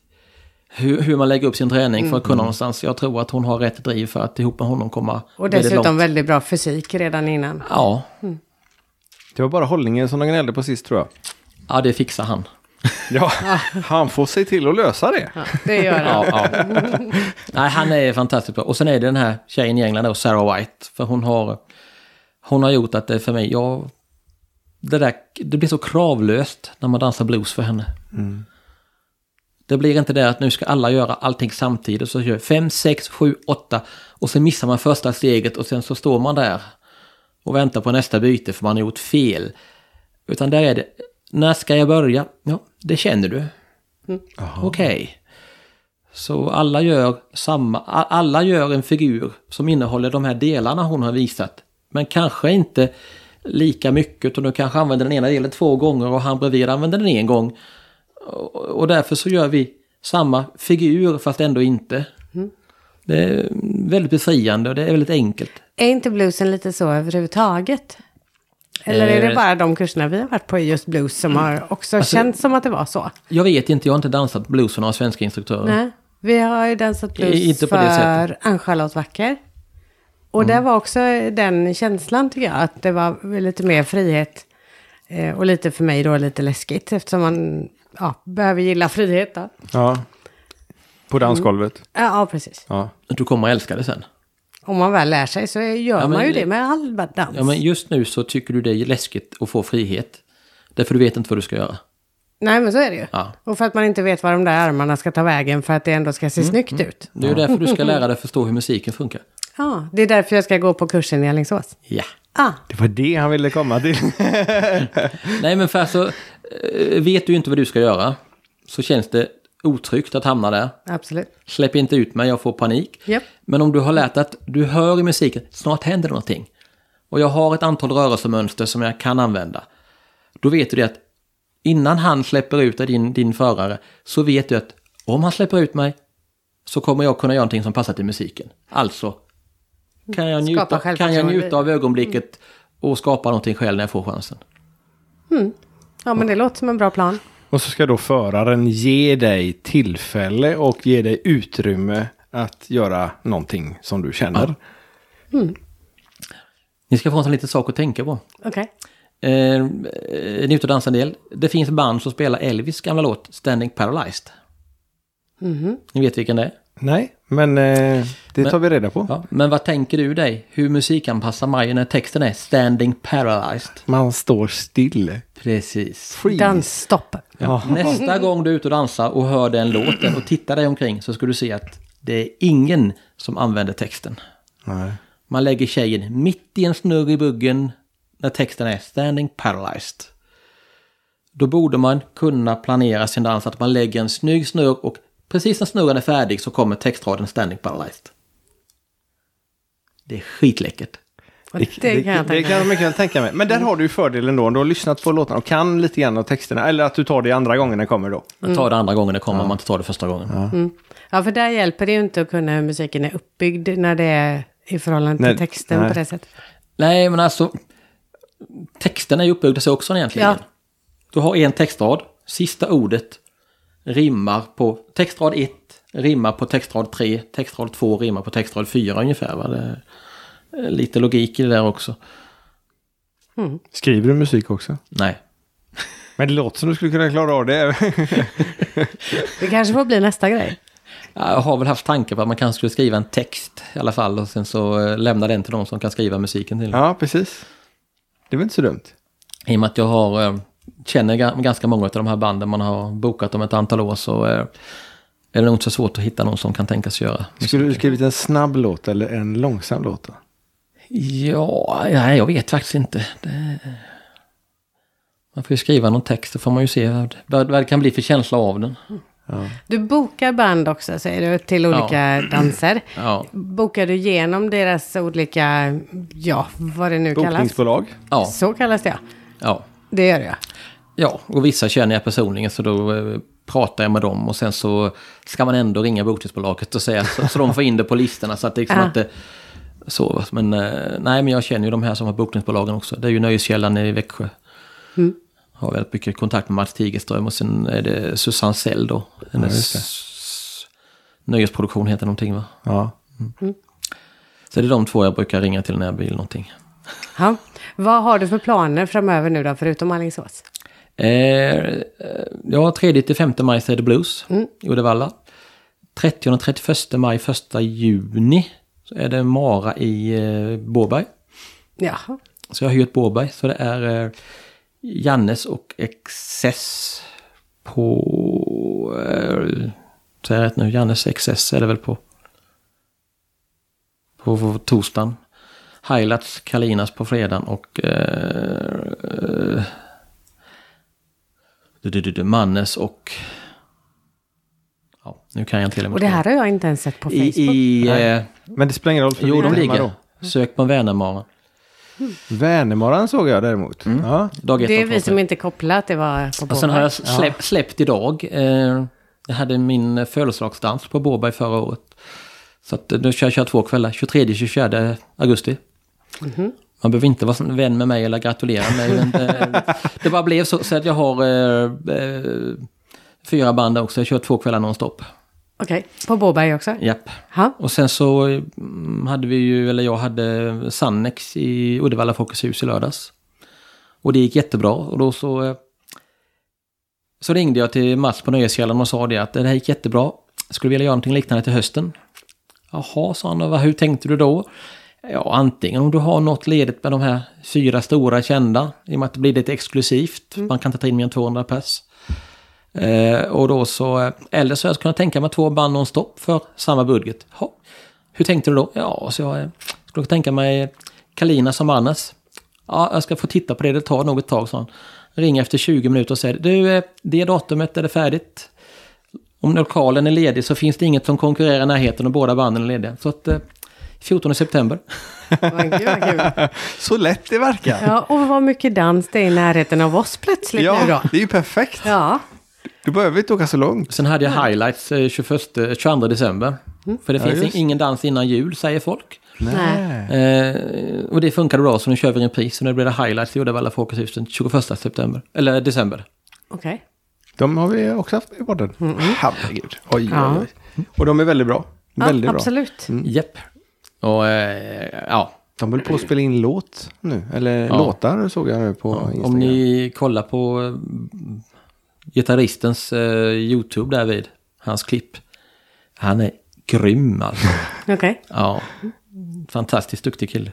Speaker 9: Hur, hur man lägger upp sin träning för att kunna
Speaker 1: Mm.
Speaker 9: någonstans. Jag tror att hon har rätt driv för att ihop med honom komma
Speaker 1: Och
Speaker 9: väldigt
Speaker 1: dessutom
Speaker 9: långt.
Speaker 1: väldigt bra fysik redan innan.
Speaker 9: Ja.
Speaker 1: Mm.
Speaker 9: Det var bara hållningen som de gnällde på sist tror jag. Ja, det fixar han.
Speaker 2: Ja,
Speaker 9: <laughs>
Speaker 2: han får sig till att lösa det.
Speaker 1: det gör <laughs> han.
Speaker 9: Ja, ja. Nej, han är fantastiskt bra. Och sen är det den här tjejen i England då, Sarah White. För hon har, hon har gjort att det för mig, jag... Det, där, det blir så kravlöst när man dansar blues för henne.
Speaker 2: Mm.
Speaker 9: Det blir inte det att nu ska alla göra allting samtidigt. Så kör 5, 6, 7, 8 och sen missar man första steget och sen så står man där och väntar på nästa byte för man har gjort fel. Utan där är det, när ska jag börja? Ja, det känner du. Okej. Så alla gör samma, a- alla gör en figur som innehåller de här delarna hon har visat. Men kanske inte lika mycket utan du kanske använder den ena delen två gånger och han bredvid använder den en gång. Och, och därför så gör vi samma figur fast ändå inte.
Speaker 1: Mm.
Speaker 9: Det är väldigt befriande och det är väldigt enkelt.
Speaker 1: Är inte bluesen lite så överhuvudtaget? Eller är det
Speaker 9: Eh.
Speaker 1: bara de kurserna vi har varit på i just blues som har också
Speaker 9: Alltså-
Speaker 1: känts som att det var så?
Speaker 9: Jag vet inte, jag har inte dansat blues för några svenska instruktörer.
Speaker 1: Nej, vi har ju dansat blues
Speaker 9: I- inte på det
Speaker 1: för
Speaker 9: sättet. Mm.
Speaker 1: Ann-Charlotte Wacker. Och där var också den känslan tycker jag, att det var lite mer frihet. Eh, Och lite för mig då lite läskigt eftersom man ja, behöver gilla frihet. Då.
Speaker 2: Ja. På dansgolvet.
Speaker 1: Ja, ja, precis.
Speaker 9: Ja. Du kommer att älska det sen.
Speaker 1: Om man väl lär sig så gör
Speaker 9: Ja, men-
Speaker 1: man ju det med all dans.
Speaker 9: Ja, men just nu så tycker du det är läskigt att få frihet. Därför du vet inte vad du ska göra.
Speaker 1: Nej, men så är det ju.
Speaker 9: Ja.
Speaker 1: Och för att man inte vet var de där armarna ska ta vägen för att det ändå ska se
Speaker 9: Mm,
Speaker 1: snyggt ut.
Speaker 9: Det är ju därför du ska lära dig förstå hur musiken funkar.
Speaker 1: Ja, det är därför jag ska gå på kursen i Alingsås.
Speaker 9: Ja.
Speaker 1: Ah,
Speaker 9: Det var det han ville komma till. Nej, men för alltså, eh, vet du inte vad du ska göra så känns det otryggt att hamna där.
Speaker 1: absolut.
Speaker 9: Släpp inte ut mig, jag får panik.
Speaker 1: Japp.
Speaker 9: Men om du har lärt dig att du hör i musiken, snart händer någonting. Och jag har ett antal rörelsemönster som jag kan använda. Då vet du det att innan han släpper ut dig, din, din förare, så vet du att om han släpper ut mig så kommer jag kunna göra någonting som passar till musiken. Alltså, kan jag
Speaker 1: Skapa
Speaker 9: njuta, kan jag
Speaker 1: självförtroende.
Speaker 9: njuta av ögonblicket och skapa någonting själv när jag får chansen?
Speaker 1: Mm. Ja, men det låter som en bra plan.
Speaker 2: Och så ska då föraren ge dig tillfälle och ge dig utrymme att göra någonting som du känner.
Speaker 1: Mm.
Speaker 9: Ni ska få en sån liten sak att tänka på.
Speaker 1: Okej.
Speaker 9: Eh, eh, ni är ute och dansar en del. Det finns band som spelar Elvis gamla låt Standing Paralyzed.
Speaker 1: Mhm.
Speaker 9: Ni vet vilken det är?
Speaker 14: Nej, men eh, det
Speaker 9: Men-
Speaker 14: tar vi reda på.
Speaker 9: Ja, men vad tänker du dig? Hur musikanpassar Maja när texten är standing paralyzed?
Speaker 14: Man står still.
Speaker 9: Precis.
Speaker 1: Dansstopp.
Speaker 9: Ja. Nästa gång du är ute och dansar och hör den låten och tittar dig omkring så ska du se att det är ingen som använder texten.
Speaker 14: Nej.
Speaker 9: Man lägger tjejen mitt i en snurr i buggen när texten är standing paralyzed. Då borde man kunna planera sin dans att man lägger en snygg snurr och precis när snurran är färdig så kommer textraden standing paralyzed. Det är skitläckert.
Speaker 14: det, det kan jag mycket väl tänka mig. Men där har du ju fördelen då, om du har lyssnat på låtarna och kan lite grann av texterna. Eller att du tar det andra gången den kommer då.
Speaker 9: Man tar det andra gången det kommer, man inte tar det första gången.
Speaker 1: Mm. Ja, för där hjälper det ju inte att kunna hur musiken är uppbyggd när det är i förhållande till
Speaker 9: Nej,
Speaker 1: texten
Speaker 9: nej.
Speaker 1: på det sättet.
Speaker 9: Nej, men alltså... Texten är ju uppbyggd så också egentligen.
Speaker 1: Ja.
Speaker 9: Du har en textrad, sista ordet rimmar på textrad 1, rimmar på textrad 3, textrad 2 rimmar på textrad 4 ungefär. Va? Det är lite logik i det där också.
Speaker 1: Mm.
Speaker 14: Skriver du musik också?
Speaker 9: Nej.
Speaker 14: Men det låter som du skulle kunna klara av det. <laughs>
Speaker 1: Det kanske får bli nästa grej.
Speaker 9: Jag har väl haft tankar på att man kanske skulle skriva en text i alla fall och sen så eh, lämna den till de som kan skriva musiken till
Speaker 14: Ja, precis. Det var inte så dumt.
Speaker 9: I och med att jag har, eh, känner ga- ganska många av de här banden man har bokat om ett antal år så eh, är det nog inte så svårt att hitta någon som kan tänkas göra.
Speaker 14: Skulle du skrivit en snabb låt eller en långsam låt? Då?
Speaker 9: Ja, nej, jag vet faktiskt inte. Det... Man får ju skriva någon text, så får man ju se vad vad det kan bli för känsla av den.
Speaker 1: Du bokar band också, säger du, till olika danser.
Speaker 9: <clears throat> Ja.
Speaker 1: Bokar du genom deras olika, ja, vad det nu kallas?
Speaker 9: Ja.
Speaker 1: Så kallas det, ja.
Speaker 9: ja.
Speaker 1: Det gör jag.
Speaker 9: Ja, och vissa känner jag personligen så då eh, pratar jag med dem och sen så ska man ändå ringa bokningsbolaget och säga så, så de får in det på listorna så att det liksom
Speaker 1: Ja.
Speaker 9: inte så. Men eh, nej, men jag känner ju de här som har bokningsbolagen också. Det är ju Nöjeskällan i Växjö.
Speaker 1: Mm.
Speaker 9: Har väldigt mycket kontakt med Mats Tigerström och sen är det Susanne Sell då.
Speaker 14: just
Speaker 9: Hennes
Speaker 14: det.
Speaker 9: nöjesproduktion heter någonting va?
Speaker 14: Ja.
Speaker 1: Mm.
Speaker 9: Så det är de två jag brukar ringa till när jag vill någonting.
Speaker 1: Ja. Vad har du för planer framöver nu då, förutom Alingsås?
Speaker 9: Eh, eh, ja, 3 till 5 maj så är det Blues i Uddevalla. 30 och 31 maj, 1 juni så är det Mara i eh, Båberg.
Speaker 1: Ja.
Speaker 9: Så jag har hyrt Båberg. Så det är eh, Jannes och Excess på... Eh, säger jag rätt nu? Jannes Excess är det väl på... På, på torsdagen. Highlights Kalinas på fredagen och... Eh, eh, du, du, du, du, Mannes och... Ja, nu kan jag inte till och med
Speaker 1: Och det här har jag inte ens sett på Facebook.
Speaker 9: i, i, eh,
Speaker 14: Men det spelar ingen roll för vi
Speaker 9: Jo,
Speaker 14: är
Speaker 9: de
Speaker 14: hemma
Speaker 9: ligger.
Speaker 14: då.
Speaker 9: Sök på Vänermara.
Speaker 14: Vänermaran såg jag däremot.
Speaker 9: Mm.
Speaker 14: Ja.
Speaker 9: Dag ett
Speaker 1: det är
Speaker 9: och
Speaker 1: vi
Speaker 9: två,
Speaker 1: som inte kopplar att det var på
Speaker 9: Och sen har jag
Speaker 1: Båberg.
Speaker 9: släpp, släppt idag. Eh, jag hade min födelsedagsdans på Båberg förra året. Så att eh, nu kör jag kör två kvällar, 23-24 augusti.
Speaker 1: Mhm.
Speaker 9: Man behöver inte vara sån vän med mig eller gratulera mig. Men det, det bara blev så, så att jag har eh, eh, fyra band också. Jag kör två kvällar nonstop.
Speaker 1: Okej, på Båberg också?
Speaker 9: Japp. <laughs>
Speaker 1: Ha?
Speaker 9: Och sen så mm, hade vi ju, eller jag hade Sannex i Uddevalla Folkets hus i lördags. Och det gick jättebra och då så eh, så ringde jag till Mats på Nöjeskällan och sa det att "Eh, det här gick jättebra. Jag skulle vilja göra någonting liknande till hösten. Jaha, sa han, och vad- hur tänkte du då? Ja, antingen om du har något ledigt med de här fyra stora kända, i och med att det blir lite exklusivt, man kan inte ta in mer än 200 pers. Eh, och då så, eh, eller så har jag kunnat tänka mig två band nonstop för samma budget. Ja. Hur tänkte du då? Ja, så jag eh, skulle tänka mig Kalina som Annas. Ja, jag ska få titta på det, det tar nog ett tag, sa han. Ring efter 20 minuter och säger du, eh, det datumet är det färdigt. Om lokalen är ledig så finns det inget som konkurrerar i närheten och båda banden är lediga. Så att eh, 14 september.
Speaker 14: så lätt det
Speaker 9: <laughs>
Speaker 14: verkar.
Speaker 1: Ja, och vad mycket dans det är i närheten av oss plötsligt nu då.
Speaker 14: Ja, det är ju perfekt.
Speaker 1: Ja.
Speaker 14: Du behöver inte åka så långt.
Speaker 9: Sen hade jag highlights eh, 21, eh, 22 december. För det
Speaker 14: Mm. Ja,
Speaker 9: finns
Speaker 14: just.
Speaker 9: ingen dans innan jul, säger folk.
Speaker 14: Nej.
Speaker 9: Eh, och det funkade bra, så nu kör vi en repris. Så nu blir det highlights i Uddevalla Folkets hus den 21 september. Eller december.
Speaker 1: Okej.
Speaker 14: De har vi också haft i podden. Herregud. Oj,
Speaker 9: Ja.
Speaker 14: oj, oj. Och de är väldigt bra.
Speaker 1: Ja,
Speaker 14: väldigt
Speaker 1: absolut.
Speaker 14: bra. Mm.
Speaker 9: Japp. Och eh, ja.
Speaker 14: De höll på att spela in låt nu. Eller
Speaker 9: Ja.
Speaker 14: låtar såg jag nu på Instagram.
Speaker 9: Om ni kollar på eh, mm, gitarristens eh, YouTube därvid, hans klipp. Han är
Speaker 2: <laughs>
Speaker 9: grym alltså.
Speaker 1: Okej.
Speaker 9: Ja, fantastiskt duktig kille.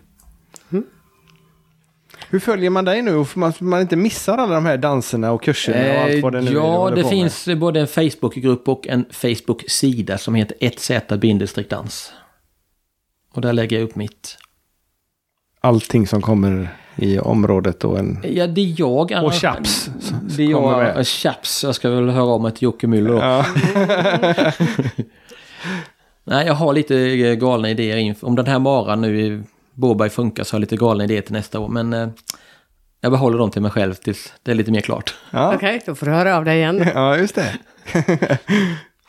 Speaker 2: Hur följer man dig nu? För man, man inte missar alla de här danserna och kurserna och allt vad det nu är du
Speaker 9: Eh, ja,
Speaker 2: håller
Speaker 9: det
Speaker 2: på med.
Speaker 9: finns både en Facebookgrupp och en Facebook-sida som heter 1Z-dans. Och där lägger jag upp mitt.
Speaker 2: Allting som kommer i området och en...
Speaker 9: Ja, det är jag.
Speaker 2: Och chaps.
Speaker 9: Det är
Speaker 2: kommer
Speaker 9: jag.
Speaker 2: med.
Speaker 9: och Chaps. Jag ska väl höra av mig till Jocke Müller då. <laughs> Nej, jag har lite eh, galna idéer. inför- Om den här maran nu i Båberg funkar så har jag lite galna idéer till nästa år. Men eh, jag behåller dem till mig själv tills det är lite mer klart.
Speaker 2: Ja.
Speaker 1: Okej, då får du höra av dig igen.
Speaker 2: Ja, just <laughs> det.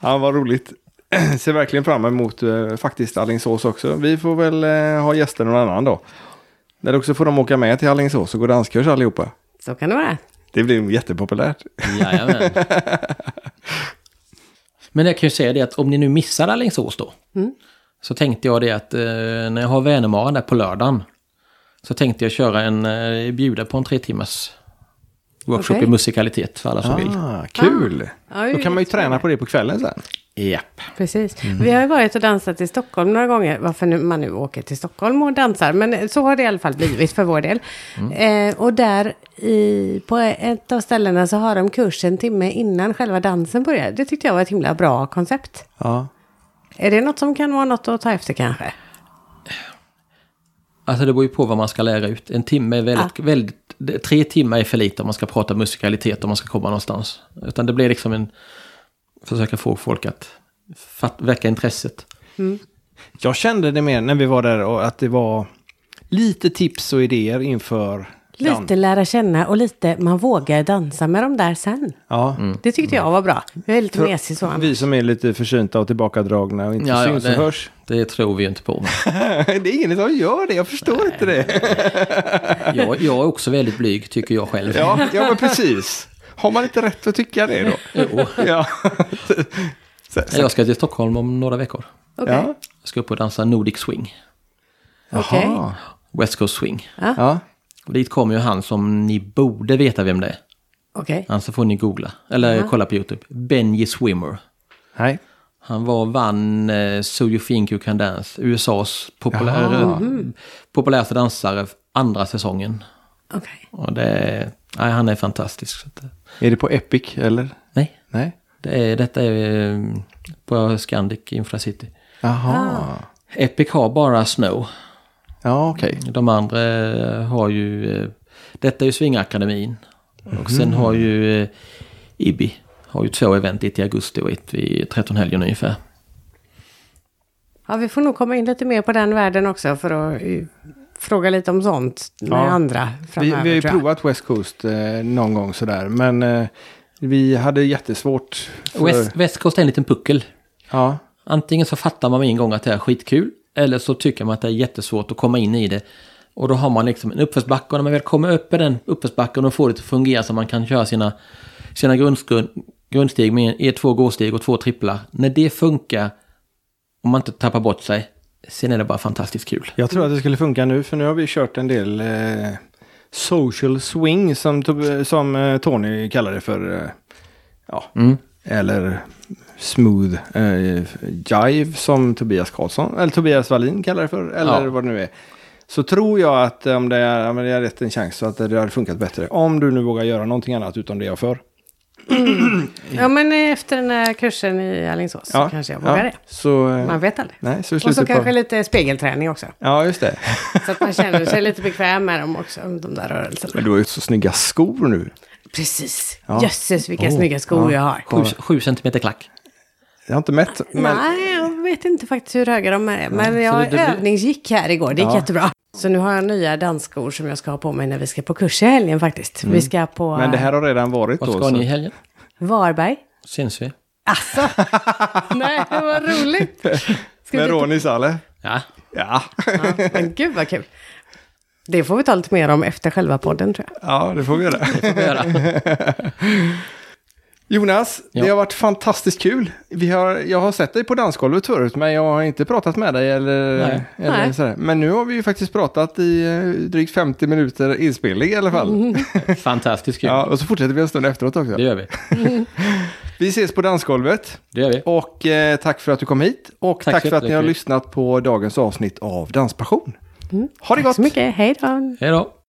Speaker 2: ja, vad roligt. <clears throat> Ser verkligen fram emot eh, faktiskt Alingsås också. Vi får väl eh, ha gäster någon annan dag. Eller också får de åka med till Alingsås och gå danskurs allihopa.
Speaker 1: Så kan det vara.
Speaker 2: Det blir nog jättepopulärt.
Speaker 9: Jajamän. Men jag kan ju säga det att om ni nu missar Alingsås då.
Speaker 1: Mm.
Speaker 9: Så tänkte jag det att eh, när jag har Vänermaran där på lördagen. Så tänkte jag köra en, eh, bjuda på en tre timmars workshop
Speaker 1: Okej.
Speaker 9: i musikalitet för alla som
Speaker 2: Ah,
Speaker 9: vill.
Speaker 2: kul.
Speaker 1: Ja, Då kan man ju
Speaker 2: träna på det på kvällen sen.
Speaker 9: Japp.
Speaker 1: Precis.
Speaker 14: Mm.
Speaker 1: Vi har ju varit och dansat i Stockholm några gånger. Varför nu, man nu åker till Stockholm och dansar. Men eh, så har det i alla fall blivit för vår del.
Speaker 14: Mm.
Speaker 1: Eh, och där i, på ett av ställena så har de kurs en timme innan själva dansen börjar. Det tyckte jag var ett himla bra koncept.
Speaker 2: Ja.
Speaker 1: Är det något som kan vara något att ta efter kanske?
Speaker 9: Alltså det beror ju på vad man ska lära ut. En timme är väldigt,
Speaker 1: Ah.
Speaker 9: väldigt det- tre timmar är för lite om man ska prata musikalitet om man ska komma någonstans. Utan det blir liksom en, försöka få folk att fatt, väcka intresset.
Speaker 2: Jag kände det mer när vi var där och att det var lite tips och idéer inför... dans.
Speaker 1: Lite lära känna och lite man vågar dansa med dem där sen.
Speaker 2: Ja.
Speaker 1: Det tyckte jag var bra. Jag är lite
Speaker 2: För-
Speaker 1: mesig så.
Speaker 2: Vi som är lite försynta och tillbakadragna och inte
Speaker 9: Ja, ja,
Speaker 2: syns och
Speaker 9: det-
Speaker 2: hörs.
Speaker 9: Det tror vi ju inte på.
Speaker 2: <laughs> det är ingen som gör det, jag förstår inte det.
Speaker 9: Jag, jag är också väldigt blyg tycker jag själv.
Speaker 2: ja, ja, men precis. Har man inte rätt att tycka det då?
Speaker 9: Jo.
Speaker 2: <laughs> Ja. <laughs>
Speaker 9: Jag ska till Stockholm om några veckor.
Speaker 1: Okej. Ja.
Speaker 9: Jag ska upp och dansa Nordic Swing.
Speaker 1: Okej.
Speaker 9: West Coast Swing.
Speaker 1: Ja.
Speaker 9: Och dit kommer ju han som ni borde veta vem det är.
Speaker 1: Okej.
Speaker 9: Annars så får ni googla. Eller
Speaker 1: Ja.
Speaker 9: kolla på YouTube. Benji Swimmer.
Speaker 2: Nej.
Speaker 9: Han var, vann eh, So You Think You Can Dance, USAs populär,
Speaker 1: Jaha. Mhm.
Speaker 9: populäraste dansare andra säsongen.
Speaker 1: Okej.
Speaker 9: Och det, nej, han är fantastisk. Så att, eh,
Speaker 2: Är det på Epic eller?
Speaker 9: Nej.
Speaker 2: Nej.
Speaker 9: Det är, detta är eh, på Scandic Infracity.
Speaker 2: Jaha.
Speaker 1: Ah.
Speaker 9: Epic har bara Snow.
Speaker 2: Ja, okej.
Speaker 9: Mm, De andra eh, har ju... eh, Detta är ju Swingakademin. Och sen
Speaker 2: Mhm.
Speaker 9: har ju eh, IBI. Har ju två event, ett i augusti och ett vid 13 helgen ungefär.
Speaker 1: Ja, vi får nog komma in lite mer på den världen också för att eh, fråga lite om sånt med
Speaker 2: Ja.
Speaker 1: andra
Speaker 2: Vi, vi
Speaker 1: framöver.
Speaker 2: har ju
Speaker 1: tror jag.
Speaker 2: provat West Coast eh, någon gång sådär, men eh, vi hade jättesvårt. För...
Speaker 9: West, West Coast är en liten puckel.
Speaker 2: Ja.
Speaker 9: Antingen så fattar man med en gång att det är skitkul. Eller så tycker man att det är jättesvårt att komma in i det. Och då har man liksom en uppförsbacke. Och när man väl kommer upp i den uppförsbacken och får det att fungera så man kan köra sina, sina grundskun, grundsteg med en, två gåsteg och två tripplar. När det funkar, om man inte tappar bort sig, sen är det bara fantastiskt kul.
Speaker 2: Jag tror att det skulle funka nu, för nu har vi kört en del eh, social swing som, Tob- som eh, Tony kallar det för. Eh, ja, eller smooth eh, jive som Tobias Karlsson, eller Tobias Wallin kallar det för, eller
Speaker 9: Ja.
Speaker 2: vad det nu är. Så tror jag att eh, om det är, om det är rätt en chans så att det hade funkat bättre. Om du nu vågar göra någonting annat utom det jag för.
Speaker 1: Ja, men eh, efter den här kursen i Alingsås så kanske jag vågar det.
Speaker 2: Så, eh,
Speaker 1: Man vet aldrig.
Speaker 2: Nej, så i
Speaker 1: Och så
Speaker 2: slutet på-
Speaker 1: kanske lite spegelträning också.
Speaker 2: Ja, just det.
Speaker 1: Så att man känner sig lite bekväm med dem också, de där rörelserna.
Speaker 2: Men du har ju så snygga skor nu.
Speaker 1: Precis.
Speaker 2: Ja.
Speaker 1: Jösses vilka
Speaker 2: Åh,
Speaker 1: snygga skor
Speaker 2: ja.
Speaker 1: jag har.
Speaker 9: Sju, sju centimeter klack.
Speaker 2: Jag har inte mätt. Men...
Speaker 1: Nej, jag vet inte faktiskt hur höga de är.
Speaker 2: Nej, så
Speaker 1: Men
Speaker 2: det-
Speaker 1: jag
Speaker 2: det blir-
Speaker 1: övningsgick här igår, det gick
Speaker 2: Ja.
Speaker 1: jättebra. Så nu har jag nya dansskor som jag ska ha på mig när vi ska på kurs i helgen faktiskt.
Speaker 2: Mm.
Speaker 1: Vi ska på
Speaker 2: Men det här har redan varit
Speaker 9: Ah. Vad
Speaker 2: då.
Speaker 9: ska
Speaker 2: så-
Speaker 9: ni i helgen?
Speaker 2: <laughs>
Speaker 1: Varberg.
Speaker 9: Syns vi?
Speaker 1: Nej, vad roligt. Ska
Speaker 2: Med
Speaker 1: vi-
Speaker 2: Ronny Saleh?
Speaker 9: Ja.
Speaker 2: Ja. <laughs>
Speaker 1: Ja, men gud vad kul. Det får vi ta lite mer om efter själva podden tror jag.
Speaker 2: ja, det får vi göra.
Speaker 9: vi
Speaker 2: <laughs> Jonas, det har varit fantastiskt kul. Vi har, jag har sett dig på dansgolvet förut, men jag har inte pratat med dig eller,
Speaker 9: Nej.
Speaker 2: eller
Speaker 9: Nej.
Speaker 2: sådär. Men nu har vi ju faktiskt pratat i eh, drygt 50 minuter
Speaker 9: Mm,
Speaker 2: inspelning i alla fall.
Speaker 9: Fantastiskt kul.
Speaker 2: Ja, och så fortsätter vi en stund efteråt också.
Speaker 9: Det gör vi.
Speaker 2: Vi ses på dansgolvet.
Speaker 9: Det gör vi.
Speaker 2: Och eh, tack för att du kom hit. Och
Speaker 9: Tack
Speaker 2: tack,
Speaker 9: så
Speaker 2: för att ni har
Speaker 9: jättemycket. Mm.
Speaker 2: lyssnat på dagens avsnitt av Danspassion. Ha det gott!
Speaker 1: Tack så mycket. Hej då.
Speaker 9: Hej då!